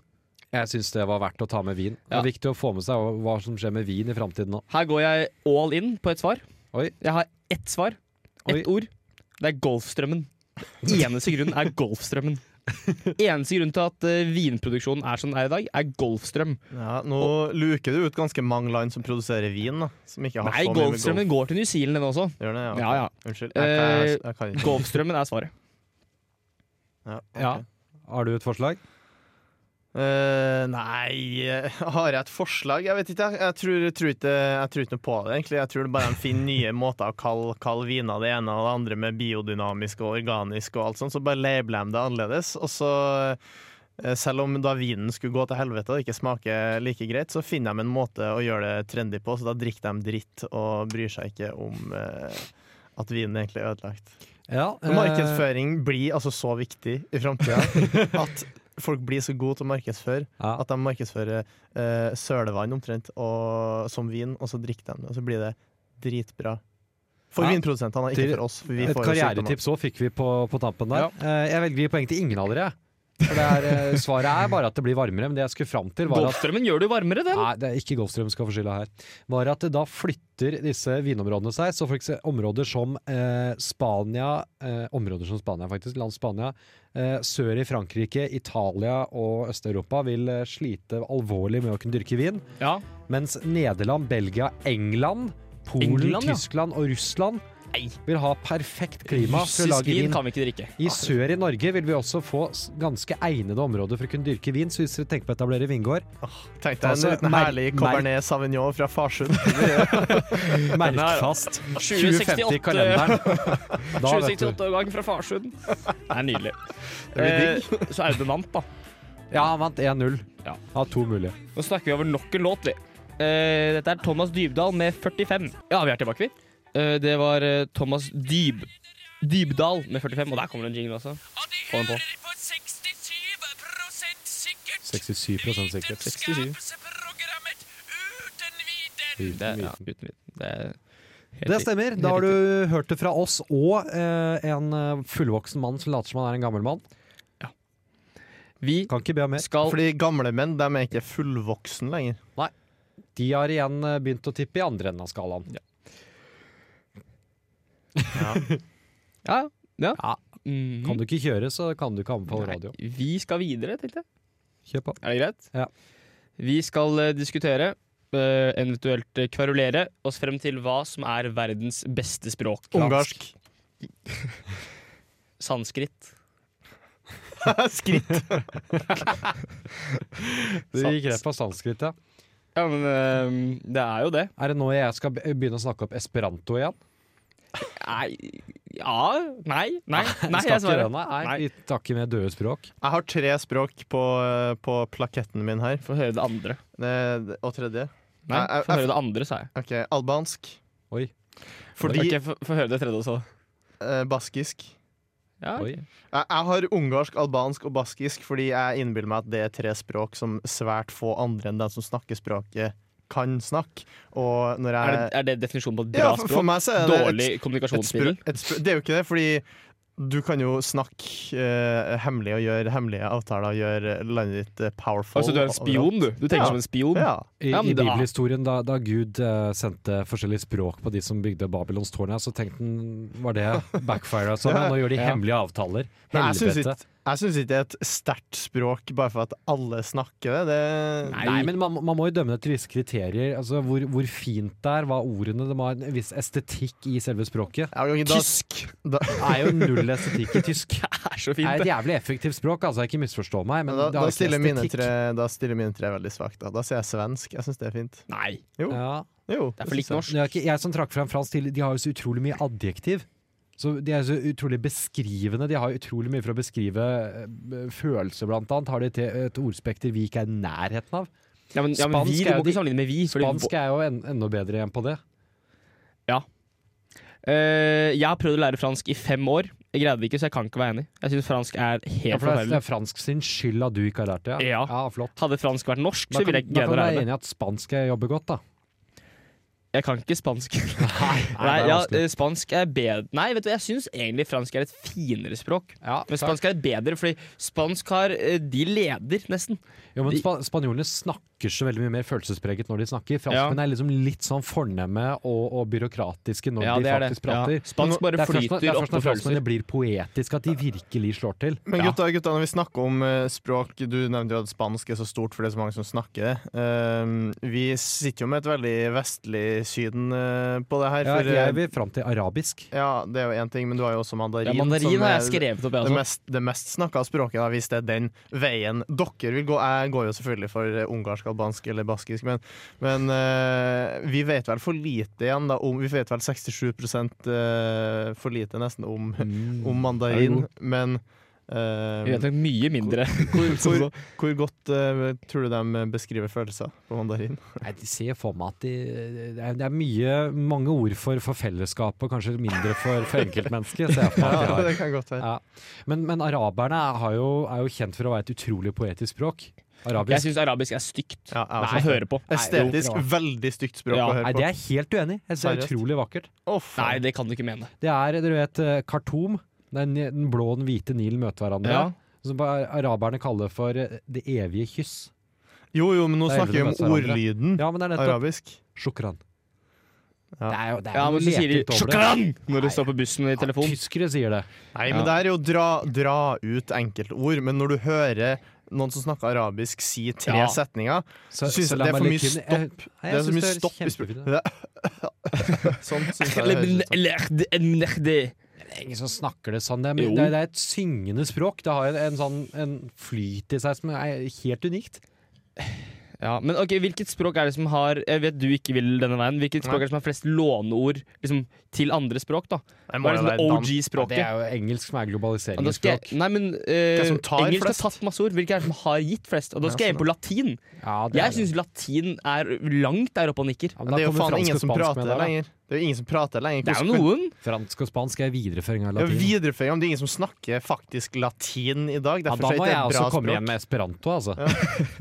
Speaker 5: Jeg syns det var verdt å ta med vin. Det
Speaker 2: Ja.
Speaker 5: er viktig å få med seg hva som skjer med vin i framtiden nå.
Speaker 2: Her går jeg all in på et svar.
Speaker 5: Oi.
Speaker 2: Jeg har ett svar. Ett ord. Det er Golfstrømmen. Eneste grunnen er Golfstrømmen. Eneste grunn til at eh, vinproduksjonen er som den er i dag, er Golfstrøm.
Speaker 3: Ja, nå luker du ut ganske mange land som produserer vin, da. Som ikke har
Speaker 2: Nei,
Speaker 3: så mye med golf
Speaker 2: Golfstrømmen går til New Zealand, den også.
Speaker 3: å gjøre.
Speaker 2: Ja,
Speaker 3: det,
Speaker 2: Eh, ja.
Speaker 3: Unnskyld. Jeg, jeg, jeg, jeg kan ikke.
Speaker 2: Golfstrømmen er svaret.
Speaker 3: Ja, ok.
Speaker 5: Ja. Har du et forslag?
Speaker 3: Eh, nei eh, Har jeg et forslag? Jeg vet ikke. Jeg, jeg, tror, jeg, tror, ikke, jeg tror ikke noe på det, egentlig. Jeg tror det bare de finner nye måter å kalle, kalle viner det ene og det andre med biodynamisk og organisk og alt sånt, så bare labeler de det annerledes. Og så eh, selv om da vinen skulle gå til helvete og ikke smake like greit, så finner de en måte å gjøre det trendy på, så da drikker de dritt og bryr seg ikke om eh, at vinen egentlig er ødelagt.
Speaker 5: Ja, eh,
Speaker 3: For Markedsføring blir altså så viktig i framtida at folk blir så gode til å markedsføre
Speaker 5: Ja.
Speaker 3: at de markedsfører eh, sølevann omtrent og, som vin, og så drikker de det. Og så blir det dritbra. For
Speaker 5: Ja.
Speaker 3: vinprodusentene, ikke
Speaker 5: Til-
Speaker 3: for oss. For vi
Speaker 5: Et
Speaker 3: får jo sykdommer.
Speaker 5: karrieretips òg fikk vi på, på tampen der. Eh, Jeg velger å gi poeng til ingen av dere. jeg. For det er, eh, svaret er bare at det blir varmere, men det jeg skulle fram til, var at
Speaker 2: Golfstrømmen gjør det jo varmere, den.
Speaker 5: Nei, det er ikke Golfstrøm som skal få skylda her. Var at da flytter disse vinområdene seg. Så for eksempel områder som eh, Spania, eh, områder som Spania faktisk, land Spania, eh, sør i Frankrike, Italia og Øst-Europa vil eh, slite alvorlig med å kunne dyrke vin.
Speaker 2: Ja.
Speaker 5: Mens Nederland, Belgia, England, Polen,
Speaker 2: England, ja.
Speaker 5: Tyskland og Russland
Speaker 2: Nei.
Speaker 5: vil ha perfekt klima for å
Speaker 2: Russisk
Speaker 5: lage
Speaker 2: vin
Speaker 5: vin.
Speaker 2: kan vi ikke drikke. Ah.
Speaker 5: I sør i Norge vil vi også få s- ganske egnede områder for å kunne dyrke vin. Så hvis dere tenker på å etablere vingård,
Speaker 3: Tenk deg en
Speaker 5: Altså,
Speaker 3: liten
Speaker 5: mer-
Speaker 3: herlig
Speaker 5: mer-
Speaker 3: Cabernet Sauvignon fra Farsund.
Speaker 5: merk
Speaker 2: Den er-
Speaker 5: fast 2050
Speaker 2: 2068
Speaker 5: i kalenderen. Da, vet du.
Speaker 2: 2068-årgang fra Farsund. Det er nydelig.
Speaker 3: blir
Speaker 2: Eh, så Audun vant, da.
Speaker 5: Ja, han vant 1-0.
Speaker 2: Ja.
Speaker 5: Av to mulige.
Speaker 2: Nå snakker vi over nok en låt, vi. Eh, dette er Thomas Dybdahl med 45. Ja, vi er tilbake, vi. Eh, det var eh, Thomas Dyb... Dybdahl med 45. Og der kommer det en jingle også. Få den på.
Speaker 5: 67 sikkert.
Speaker 2: 67. Det, er- ja, uten viten. Det er helt
Speaker 5: Det
Speaker 2: riktig.
Speaker 5: stemmer.
Speaker 2: Helt
Speaker 5: Da har du hørt det fra oss og eh, en eh, fullvoksen mann som later som han er en gammel mann.
Speaker 2: Vi
Speaker 5: Kan ikke be om mer.
Speaker 2: skal
Speaker 3: Fordi gamle menn de er ikke fullvoksen lenger.
Speaker 5: De har igjen eh, begynt å tippe i andre enden av skalaen.
Speaker 2: Ja. ja.
Speaker 5: Ja.
Speaker 2: Mhm.
Speaker 5: Kan du ikke kjøre, så kan du ikke anbefale radio.
Speaker 2: Nei, vi skal videre, tenkte jeg.
Speaker 5: Kjør på.
Speaker 2: Er det greit?
Speaker 5: Ja.
Speaker 2: Vi skal eh, diskutere, eh, eventuelt eh, kverulere, oss frem til hva som er verdens beste språk.
Speaker 3: Ungarsk.
Speaker 2: Sanskrit.
Speaker 3: Skritt.
Speaker 5: Du gikk rett på sanskrit, ja.
Speaker 2: Ja, men eh, det er jo det.
Speaker 5: Er det nå jeg skal be- begynne å snakke opp esperanto igjen?
Speaker 2: Nei Ja. Nei. Nei,
Speaker 3: Ah,
Speaker 2: nei
Speaker 5: Skal ikke
Speaker 2: jeg svarer.
Speaker 5: det, Nei, nei,
Speaker 2: Nei.
Speaker 5: vi tar ikke med døde språk.
Speaker 3: Jeg har tre språk på, på plaketten min her.
Speaker 2: Få høre det andre.
Speaker 3: Det- Og tredje.
Speaker 2: Nei,
Speaker 3: Nei, jeg-
Speaker 2: få høre det andre, sa jeg.
Speaker 3: OK. Albansk.
Speaker 5: Oi.
Speaker 3: Fordi
Speaker 2: Ok, Få få høre det tredje også.
Speaker 3: eh, Baskisk.
Speaker 2: Ja, ok.
Speaker 5: Oi.
Speaker 3: Jeg, jeg har ungarsk, albansk og baskisk fordi jeg innbiller meg at det er tre språk som svært få andre enn den som snakker språket, kan snakke. Og når
Speaker 2: er, det,
Speaker 3: jeg
Speaker 2: er det definisjonen på et bra
Speaker 3: Eh, Ja, for, for
Speaker 2: språk?
Speaker 3: meg så er det
Speaker 2: Dårlig
Speaker 3: et, et,
Speaker 2: kommunikasjonsmiddel?
Speaker 3: språk, et språk Det er jo ikke det, fordi du kan jo snakke eh, hemmelig og gjøre hemmelige avtaler og gjøre landet ditt eh, powerful.
Speaker 2: Altså, du er en
Speaker 3: overalt.
Speaker 2: spion, du. Du tenker
Speaker 3: Ja.
Speaker 2: som en spion.
Speaker 3: Ja.
Speaker 5: I,
Speaker 2: Ja,
Speaker 5: i
Speaker 2: men da-
Speaker 5: bibelhistorien, da, da Gud eh, sendte forskjellige språk på de som bygde Babylons tårn, her, så tenkte han var det backfire. Altså,
Speaker 3: Ja.
Speaker 5: nå gjør de
Speaker 2: Ja.
Speaker 5: hemmelige avtaler.
Speaker 3: Men jeg syns
Speaker 5: Helvete.
Speaker 3: ikke, jeg synes ikke det er et sterkt språk bare for at alle snakker det. det
Speaker 5: Nei, men man, man må jo dømme det til visse kriterier. Altså, hvor, hvor fint det er, hva ordene Det må ha en viss estetikk i selve språket.
Speaker 3: Ja, men da-
Speaker 2: Tysk
Speaker 3: Da,
Speaker 5: Det er jo null estetikk i tysk.
Speaker 2: er
Speaker 5: Det
Speaker 2: så
Speaker 5: er
Speaker 2: fint,
Speaker 5: et
Speaker 2: det.
Speaker 5: jævlig effektivt språk, altså. Ikke misforstå meg, men
Speaker 3: da,
Speaker 5: det
Speaker 3: da,
Speaker 5: har ikke
Speaker 3: stiller mine
Speaker 5: estetikk.
Speaker 3: tre, da stiller mine tre veldig svakt. Da. da sier jeg svensk. Jeg syns det er fint.
Speaker 2: Nei.
Speaker 3: Jo,
Speaker 5: Ja.
Speaker 3: jo.
Speaker 2: Det er for likt norsk.
Speaker 5: Det er ikke, jeg som trakk frem fransk tidlig, de har jo så utrolig mye adjektiv. Så de er så utrolig beskrivende. De har utrolig mye for å beskrive eh, følelser, blant annet. Har de til et ordspekter vi ikke er i nærheten av.
Speaker 2: Ja, men, ja, men vi,
Speaker 5: Spansk
Speaker 2: du
Speaker 5: er jo
Speaker 2: må
Speaker 5: de-
Speaker 2: ikke sammenligne med vi. fordi
Speaker 5: Spansk er jo en, enda bedre enn på det.
Speaker 2: Eh, jeg har prøvd å lære fransk i fem år. Jeg greide det ikke, så jeg kan ikke være enig. Jeg synes fransk er helt
Speaker 5: Ja, for det er, det
Speaker 2: forferdelig.
Speaker 5: er fransk sin skyld at du ikke har lært det.
Speaker 2: Ja.
Speaker 5: ja flott.
Speaker 2: Hadde fransk vært norsk,
Speaker 5: Da
Speaker 2: så
Speaker 5: kan,
Speaker 2: ville
Speaker 5: da
Speaker 2: jeg
Speaker 5: kan
Speaker 2: ikke greid
Speaker 5: du
Speaker 2: å
Speaker 5: være
Speaker 2: lære det.
Speaker 5: enig i at spansk jobber godt, da.
Speaker 2: Jeg kan ikke spansk.
Speaker 5: Nei,
Speaker 2: Nei,
Speaker 5: det er altså-
Speaker 2: ja,
Speaker 5: vanskelig.
Speaker 2: eh, spansk er bedre Nei, vet du, jeg syns egentlig fransk er et finere språk.
Speaker 5: Ja,
Speaker 2: Men
Speaker 5: takk.
Speaker 2: spansk er bedre, fordi spansk har eh, De leder, nesten.
Speaker 5: Jo, men spa spanjolene snakker snakker så veldig mye mer følelsespreget når de snakker. Franskmenn er liksom litt sånn fornemme og, og byråkratiske når
Speaker 2: Ja,
Speaker 5: de
Speaker 2: det er det.
Speaker 5: faktisk prater.
Speaker 2: Ja. Spansk bare
Speaker 5: det er først når- det
Speaker 2: flyter
Speaker 5: er
Speaker 2: opp
Speaker 5: først
Speaker 2: på
Speaker 5: når franskmennene
Speaker 2: følelser.
Speaker 5: blir poetiske at de virkelig slår til.
Speaker 3: Men
Speaker 2: Ja.
Speaker 3: gutta, gutta, når vi snakker om eh, språk Du nevnte jo at spansk er så stort, for det er så mange som snakker det. Ehm, vi sitter jo med et veldig vestlig Syden eh, på det her.
Speaker 5: Ja,
Speaker 3: For,
Speaker 5: jeg
Speaker 3: eh,
Speaker 5: vil fram til arabisk.
Speaker 3: ja, det er jo én ting, men du har jo også mandarin.
Speaker 2: Ja, mandarin
Speaker 3: som
Speaker 2: har
Speaker 3: er
Speaker 2: jeg skrevet opp,
Speaker 3: Det
Speaker 2: jeg også.
Speaker 3: mest, det mest snakka språket, da, hvis det er den veien dere vil gå Jeg går jo selvfølgelig for eh, ungarsk, albansk eller baskisk, men, men eh, vi vet vel for lite igjen da, om Vi vet vel 67 eh, for lite nesten om, om mandarin, men eh,
Speaker 2: Vi vet nok mye mindre.
Speaker 3: hvor, hvor, hvor godt eh, tror du de beskriver følelser på mandarin?
Speaker 5: Nei, de ser for meg at de, det, er, det er mye, mange ord for, for fellesskapet, kanskje mindre for, for enkeltmennesket. ser jeg for meg at de har.
Speaker 3: det kan godt være.
Speaker 5: Ja. Men, men araberne har jo, er jo kjent for å være et utrolig poetisk språk.
Speaker 2: Jeg
Speaker 5: Arabisk.
Speaker 2: syns arabisk er stygt
Speaker 3: Ja, jeg
Speaker 2: å
Speaker 3: også.
Speaker 2: høre på.
Speaker 3: Estetisk veldig stygt språk
Speaker 2: Ja,
Speaker 3: å
Speaker 5: Nei,
Speaker 3: høre
Speaker 5: det er
Speaker 3: på.
Speaker 5: jeg helt uenig i. Jeg synes Det
Speaker 3: Seriøst?
Speaker 5: er utrolig vakkert.
Speaker 2: Nei,
Speaker 3: Å, faen.
Speaker 2: det kan du ikke mene.
Speaker 5: Det er, dere vet, eh, Khartoum. Den, den blå og den hvite Nilen møter hverandre.
Speaker 2: Ja.
Speaker 5: Som bare araberne kaller for eh, det evige kyss.
Speaker 3: Jo, jo, men nå
Speaker 5: Det er
Speaker 3: snakker vi
Speaker 5: eldre
Speaker 3: om
Speaker 5: møter hverandre.
Speaker 3: ordlyden.
Speaker 5: Ja, men det er nettopp
Speaker 3: Arabisk.
Speaker 5: Shukran.
Speaker 3: Ja.
Speaker 5: Det er jo det er
Speaker 2: Ja,
Speaker 5: jo
Speaker 2: men så sier de
Speaker 5: leket over det.
Speaker 2: 'sjokran' når du
Speaker 5: Nei.
Speaker 2: står på bussen i telefonen.
Speaker 5: Tyskere sier det.
Speaker 3: Nei,
Speaker 2: Ja.
Speaker 3: men det er jo å dra, dra ut enkeltord, men når du hører noen som snakker arabisk si tre
Speaker 2: Ja.
Speaker 3: setninger
Speaker 5: Så,
Speaker 3: Synes
Speaker 5: så
Speaker 3: det er
Speaker 5: la
Speaker 3: for
Speaker 5: meg
Speaker 3: mye
Speaker 5: lykke-
Speaker 3: stopp.
Speaker 5: Jeg- Nei, jeg
Speaker 3: Det er så
Speaker 5: synes
Speaker 3: mye
Speaker 5: høres
Speaker 3: stopp i
Speaker 5: kjempefint ut.
Speaker 3: språket. Sånn synes jeg det høres ut som.
Speaker 2: Ja,
Speaker 5: Det er ingen som snakker det sånn. Det er, men
Speaker 2: Jo.
Speaker 5: det er, det er et syngende språk. Det har en, en, sånn, en flyt i seg som er helt unikt.
Speaker 2: men ok, Hvilket språk er det som har Jeg vet du ikke vil denne veien. Hvilket språk
Speaker 3: Nei.
Speaker 2: er det som har flest låneord liksom, til andre språk? da? Hva
Speaker 3: Det må
Speaker 2: er
Speaker 3: jo
Speaker 2: det
Speaker 3: være
Speaker 2: som er
Speaker 3: dan-
Speaker 5: Det
Speaker 2: OG-språket?
Speaker 5: er jo engelsk som er
Speaker 2: Ja, da skal
Speaker 5: globaliseringsspråk.
Speaker 2: jeg- Nei, men eh,
Speaker 3: er som tar
Speaker 2: Engelsk har
Speaker 3: flest?
Speaker 2: tatt masse ord. Hvilke er det som har gitt flest? Og Da
Speaker 3: Ja,
Speaker 2: skal jeg inn på latin.
Speaker 5: Ja, det er
Speaker 2: Jeg
Speaker 5: det.
Speaker 2: syns latin er langt der oppe og nikker.
Speaker 5: Ja, men
Speaker 3: Men
Speaker 5: da
Speaker 3: det er jo
Speaker 5: kommer
Speaker 3: faen
Speaker 5: fransk
Speaker 3: ingen
Speaker 5: og
Speaker 3: som
Speaker 5: spansk
Speaker 3: prater
Speaker 5: med der, da.
Speaker 3: lenger. Det er jo ingen som prater lenger.
Speaker 2: Det er jo
Speaker 3: Hvordan-
Speaker 2: noen.
Speaker 5: Fransk og spansk er videreføring av
Speaker 3: Ja,
Speaker 5: latin. Ja,
Speaker 3: videreføring, men det er ingen som snakker faktisk latin i dag. Derfor
Speaker 5: da
Speaker 3: så er
Speaker 5: må
Speaker 3: det
Speaker 5: jeg
Speaker 3: et
Speaker 5: også
Speaker 3: bra
Speaker 5: komme hjem
Speaker 3: språk.
Speaker 5: med esperanto, altså.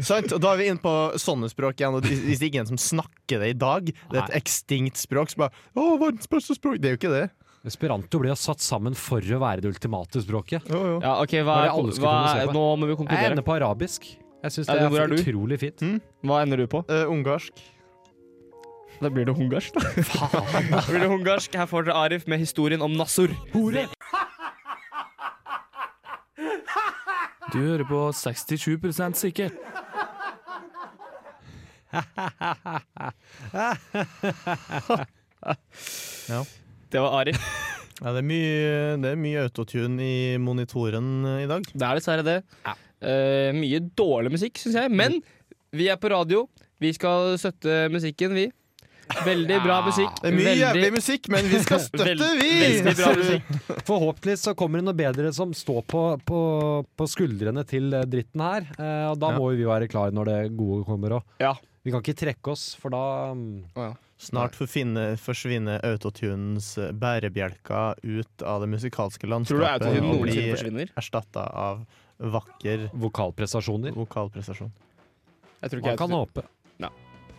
Speaker 3: Sant? Og da er vi inne på sånne språk igjen. Og hvis hvis det ikke er en som snakker det i dag, det er et ekstinkt språk, så bare Å, verdens beste språk! Det er jo ikke det.
Speaker 5: Esperanto ble jo satt sammen for å være det ultimate språket.
Speaker 3: Jo, jo.
Speaker 2: Ja, ok, hva
Speaker 5: Var
Speaker 2: er,
Speaker 5: det alle skulle
Speaker 2: hva
Speaker 5: kunne se
Speaker 2: er
Speaker 5: på?
Speaker 2: Nå må vi
Speaker 5: Jeg ender
Speaker 2: konkludere.
Speaker 5: på arabisk. Jeg syns
Speaker 2: Ja,
Speaker 5: det
Speaker 2: men
Speaker 5: er,
Speaker 2: hvor er du?
Speaker 5: utrolig fint.
Speaker 2: Hva ender du på?
Speaker 3: Eh, ungarsk.
Speaker 2: Da blir det ungarsk, da. da blir det ungarsk. Her får dere Arif med historien om Nassur.
Speaker 7: Du hører på 67 sikkert.
Speaker 2: Det var Arif.
Speaker 3: Ja, det er mye, det er mye autotune i monitoren eh, i dag.
Speaker 2: Det er dessverre det. Eh, mye dårlig musikk, syns jeg. Men vi er på radio. Vi skal støtte musikken, vi. Veldig bra musikk.
Speaker 3: Det er mye jævlig
Speaker 2: veldig,
Speaker 3: musikk, men vi skal støtte,
Speaker 2: veld-
Speaker 3: vi!
Speaker 2: veldig bra musikk.
Speaker 5: Forhåpentligvis så kommer det noe bedre som står på, på, på skuldrene til eh, dritten her. Eh, og da
Speaker 3: Ja.
Speaker 5: må jo vi være klare når det gode kommer òg.
Speaker 2: Ja.
Speaker 5: Vi kan ikke trekke oss, for da mm,
Speaker 3: Snart forfinne- forsvinner autotunens bærebjelker ut av det musikalske
Speaker 2: Tror du
Speaker 3: landskapet
Speaker 2: autotune
Speaker 3: og
Speaker 2: noensinne
Speaker 3: blir
Speaker 2: forsvinner?
Speaker 3: erstatta av vakker
Speaker 5: Vokalprestasjoner.
Speaker 3: vokalprestasjon.
Speaker 2: Jeg tror ikke
Speaker 5: Man kan
Speaker 2: autotune-
Speaker 5: håpe.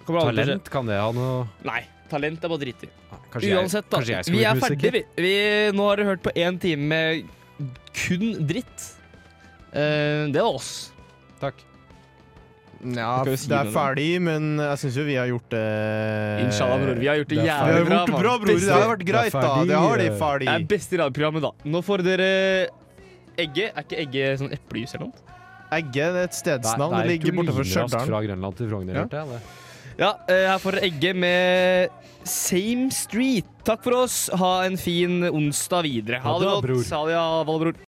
Speaker 2: Kommer aldri til å skje.
Speaker 5: Talent, kan det ha noe
Speaker 2: Nei. Talent er bare drittig.
Speaker 5: kanskje
Speaker 2: Uansett, da.
Speaker 5: kanskje jeg skulle
Speaker 2: vi
Speaker 5: blitt
Speaker 2: er
Speaker 5: musiker.
Speaker 2: ferdige, vi. vi. Nå har dere hørt på én time med kun dritt. Eh, det var oss.
Speaker 5: Jeg, takk.
Speaker 3: Ja,
Speaker 2: Skal vi
Speaker 3: det
Speaker 2: si
Speaker 3: er
Speaker 2: noe da?
Speaker 3: ferdig, men jeg syns jo vi har gjort det
Speaker 2: Inshallah, bror. Vi har gjort det
Speaker 5: det er
Speaker 3: Vi har
Speaker 2: jævlig bra.
Speaker 3: gjort det bra,
Speaker 2: mann.
Speaker 3: bror. Det har
Speaker 2: Beste-
Speaker 3: vært greit, da.
Speaker 5: ferdig,
Speaker 3: Det har de
Speaker 5: eh.
Speaker 2: Det er
Speaker 3: ferdig.
Speaker 2: beste radioprogrammet, da. Nå får dere egget. Er ikke egget sånn eplejus eller noe?
Speaker 3: Egge det er et stedsnavn.
Speaker 5: Det
Speaker 3: Det
Speaker 5: er
Speaker 3: ligger bortenfor
Speaker 5: kulinerast
Speaker 3: Stjørdal.
Speaker 5: Fra Grønland til Frogner,
Speaker 3: Ja.
Speaker 5: hørte jeg. Det.
Speaker 2: Ja, eh, her får dere egget med Same Street. Takk for oss. Ha en fin onsdag videre. Ha
Speaker 5: Ha
Speaker 2: det
Speaker 5: det bra,
Speaker 2: godt.
Speaker 5: bror.
Speaker 2: Salia, Valbror.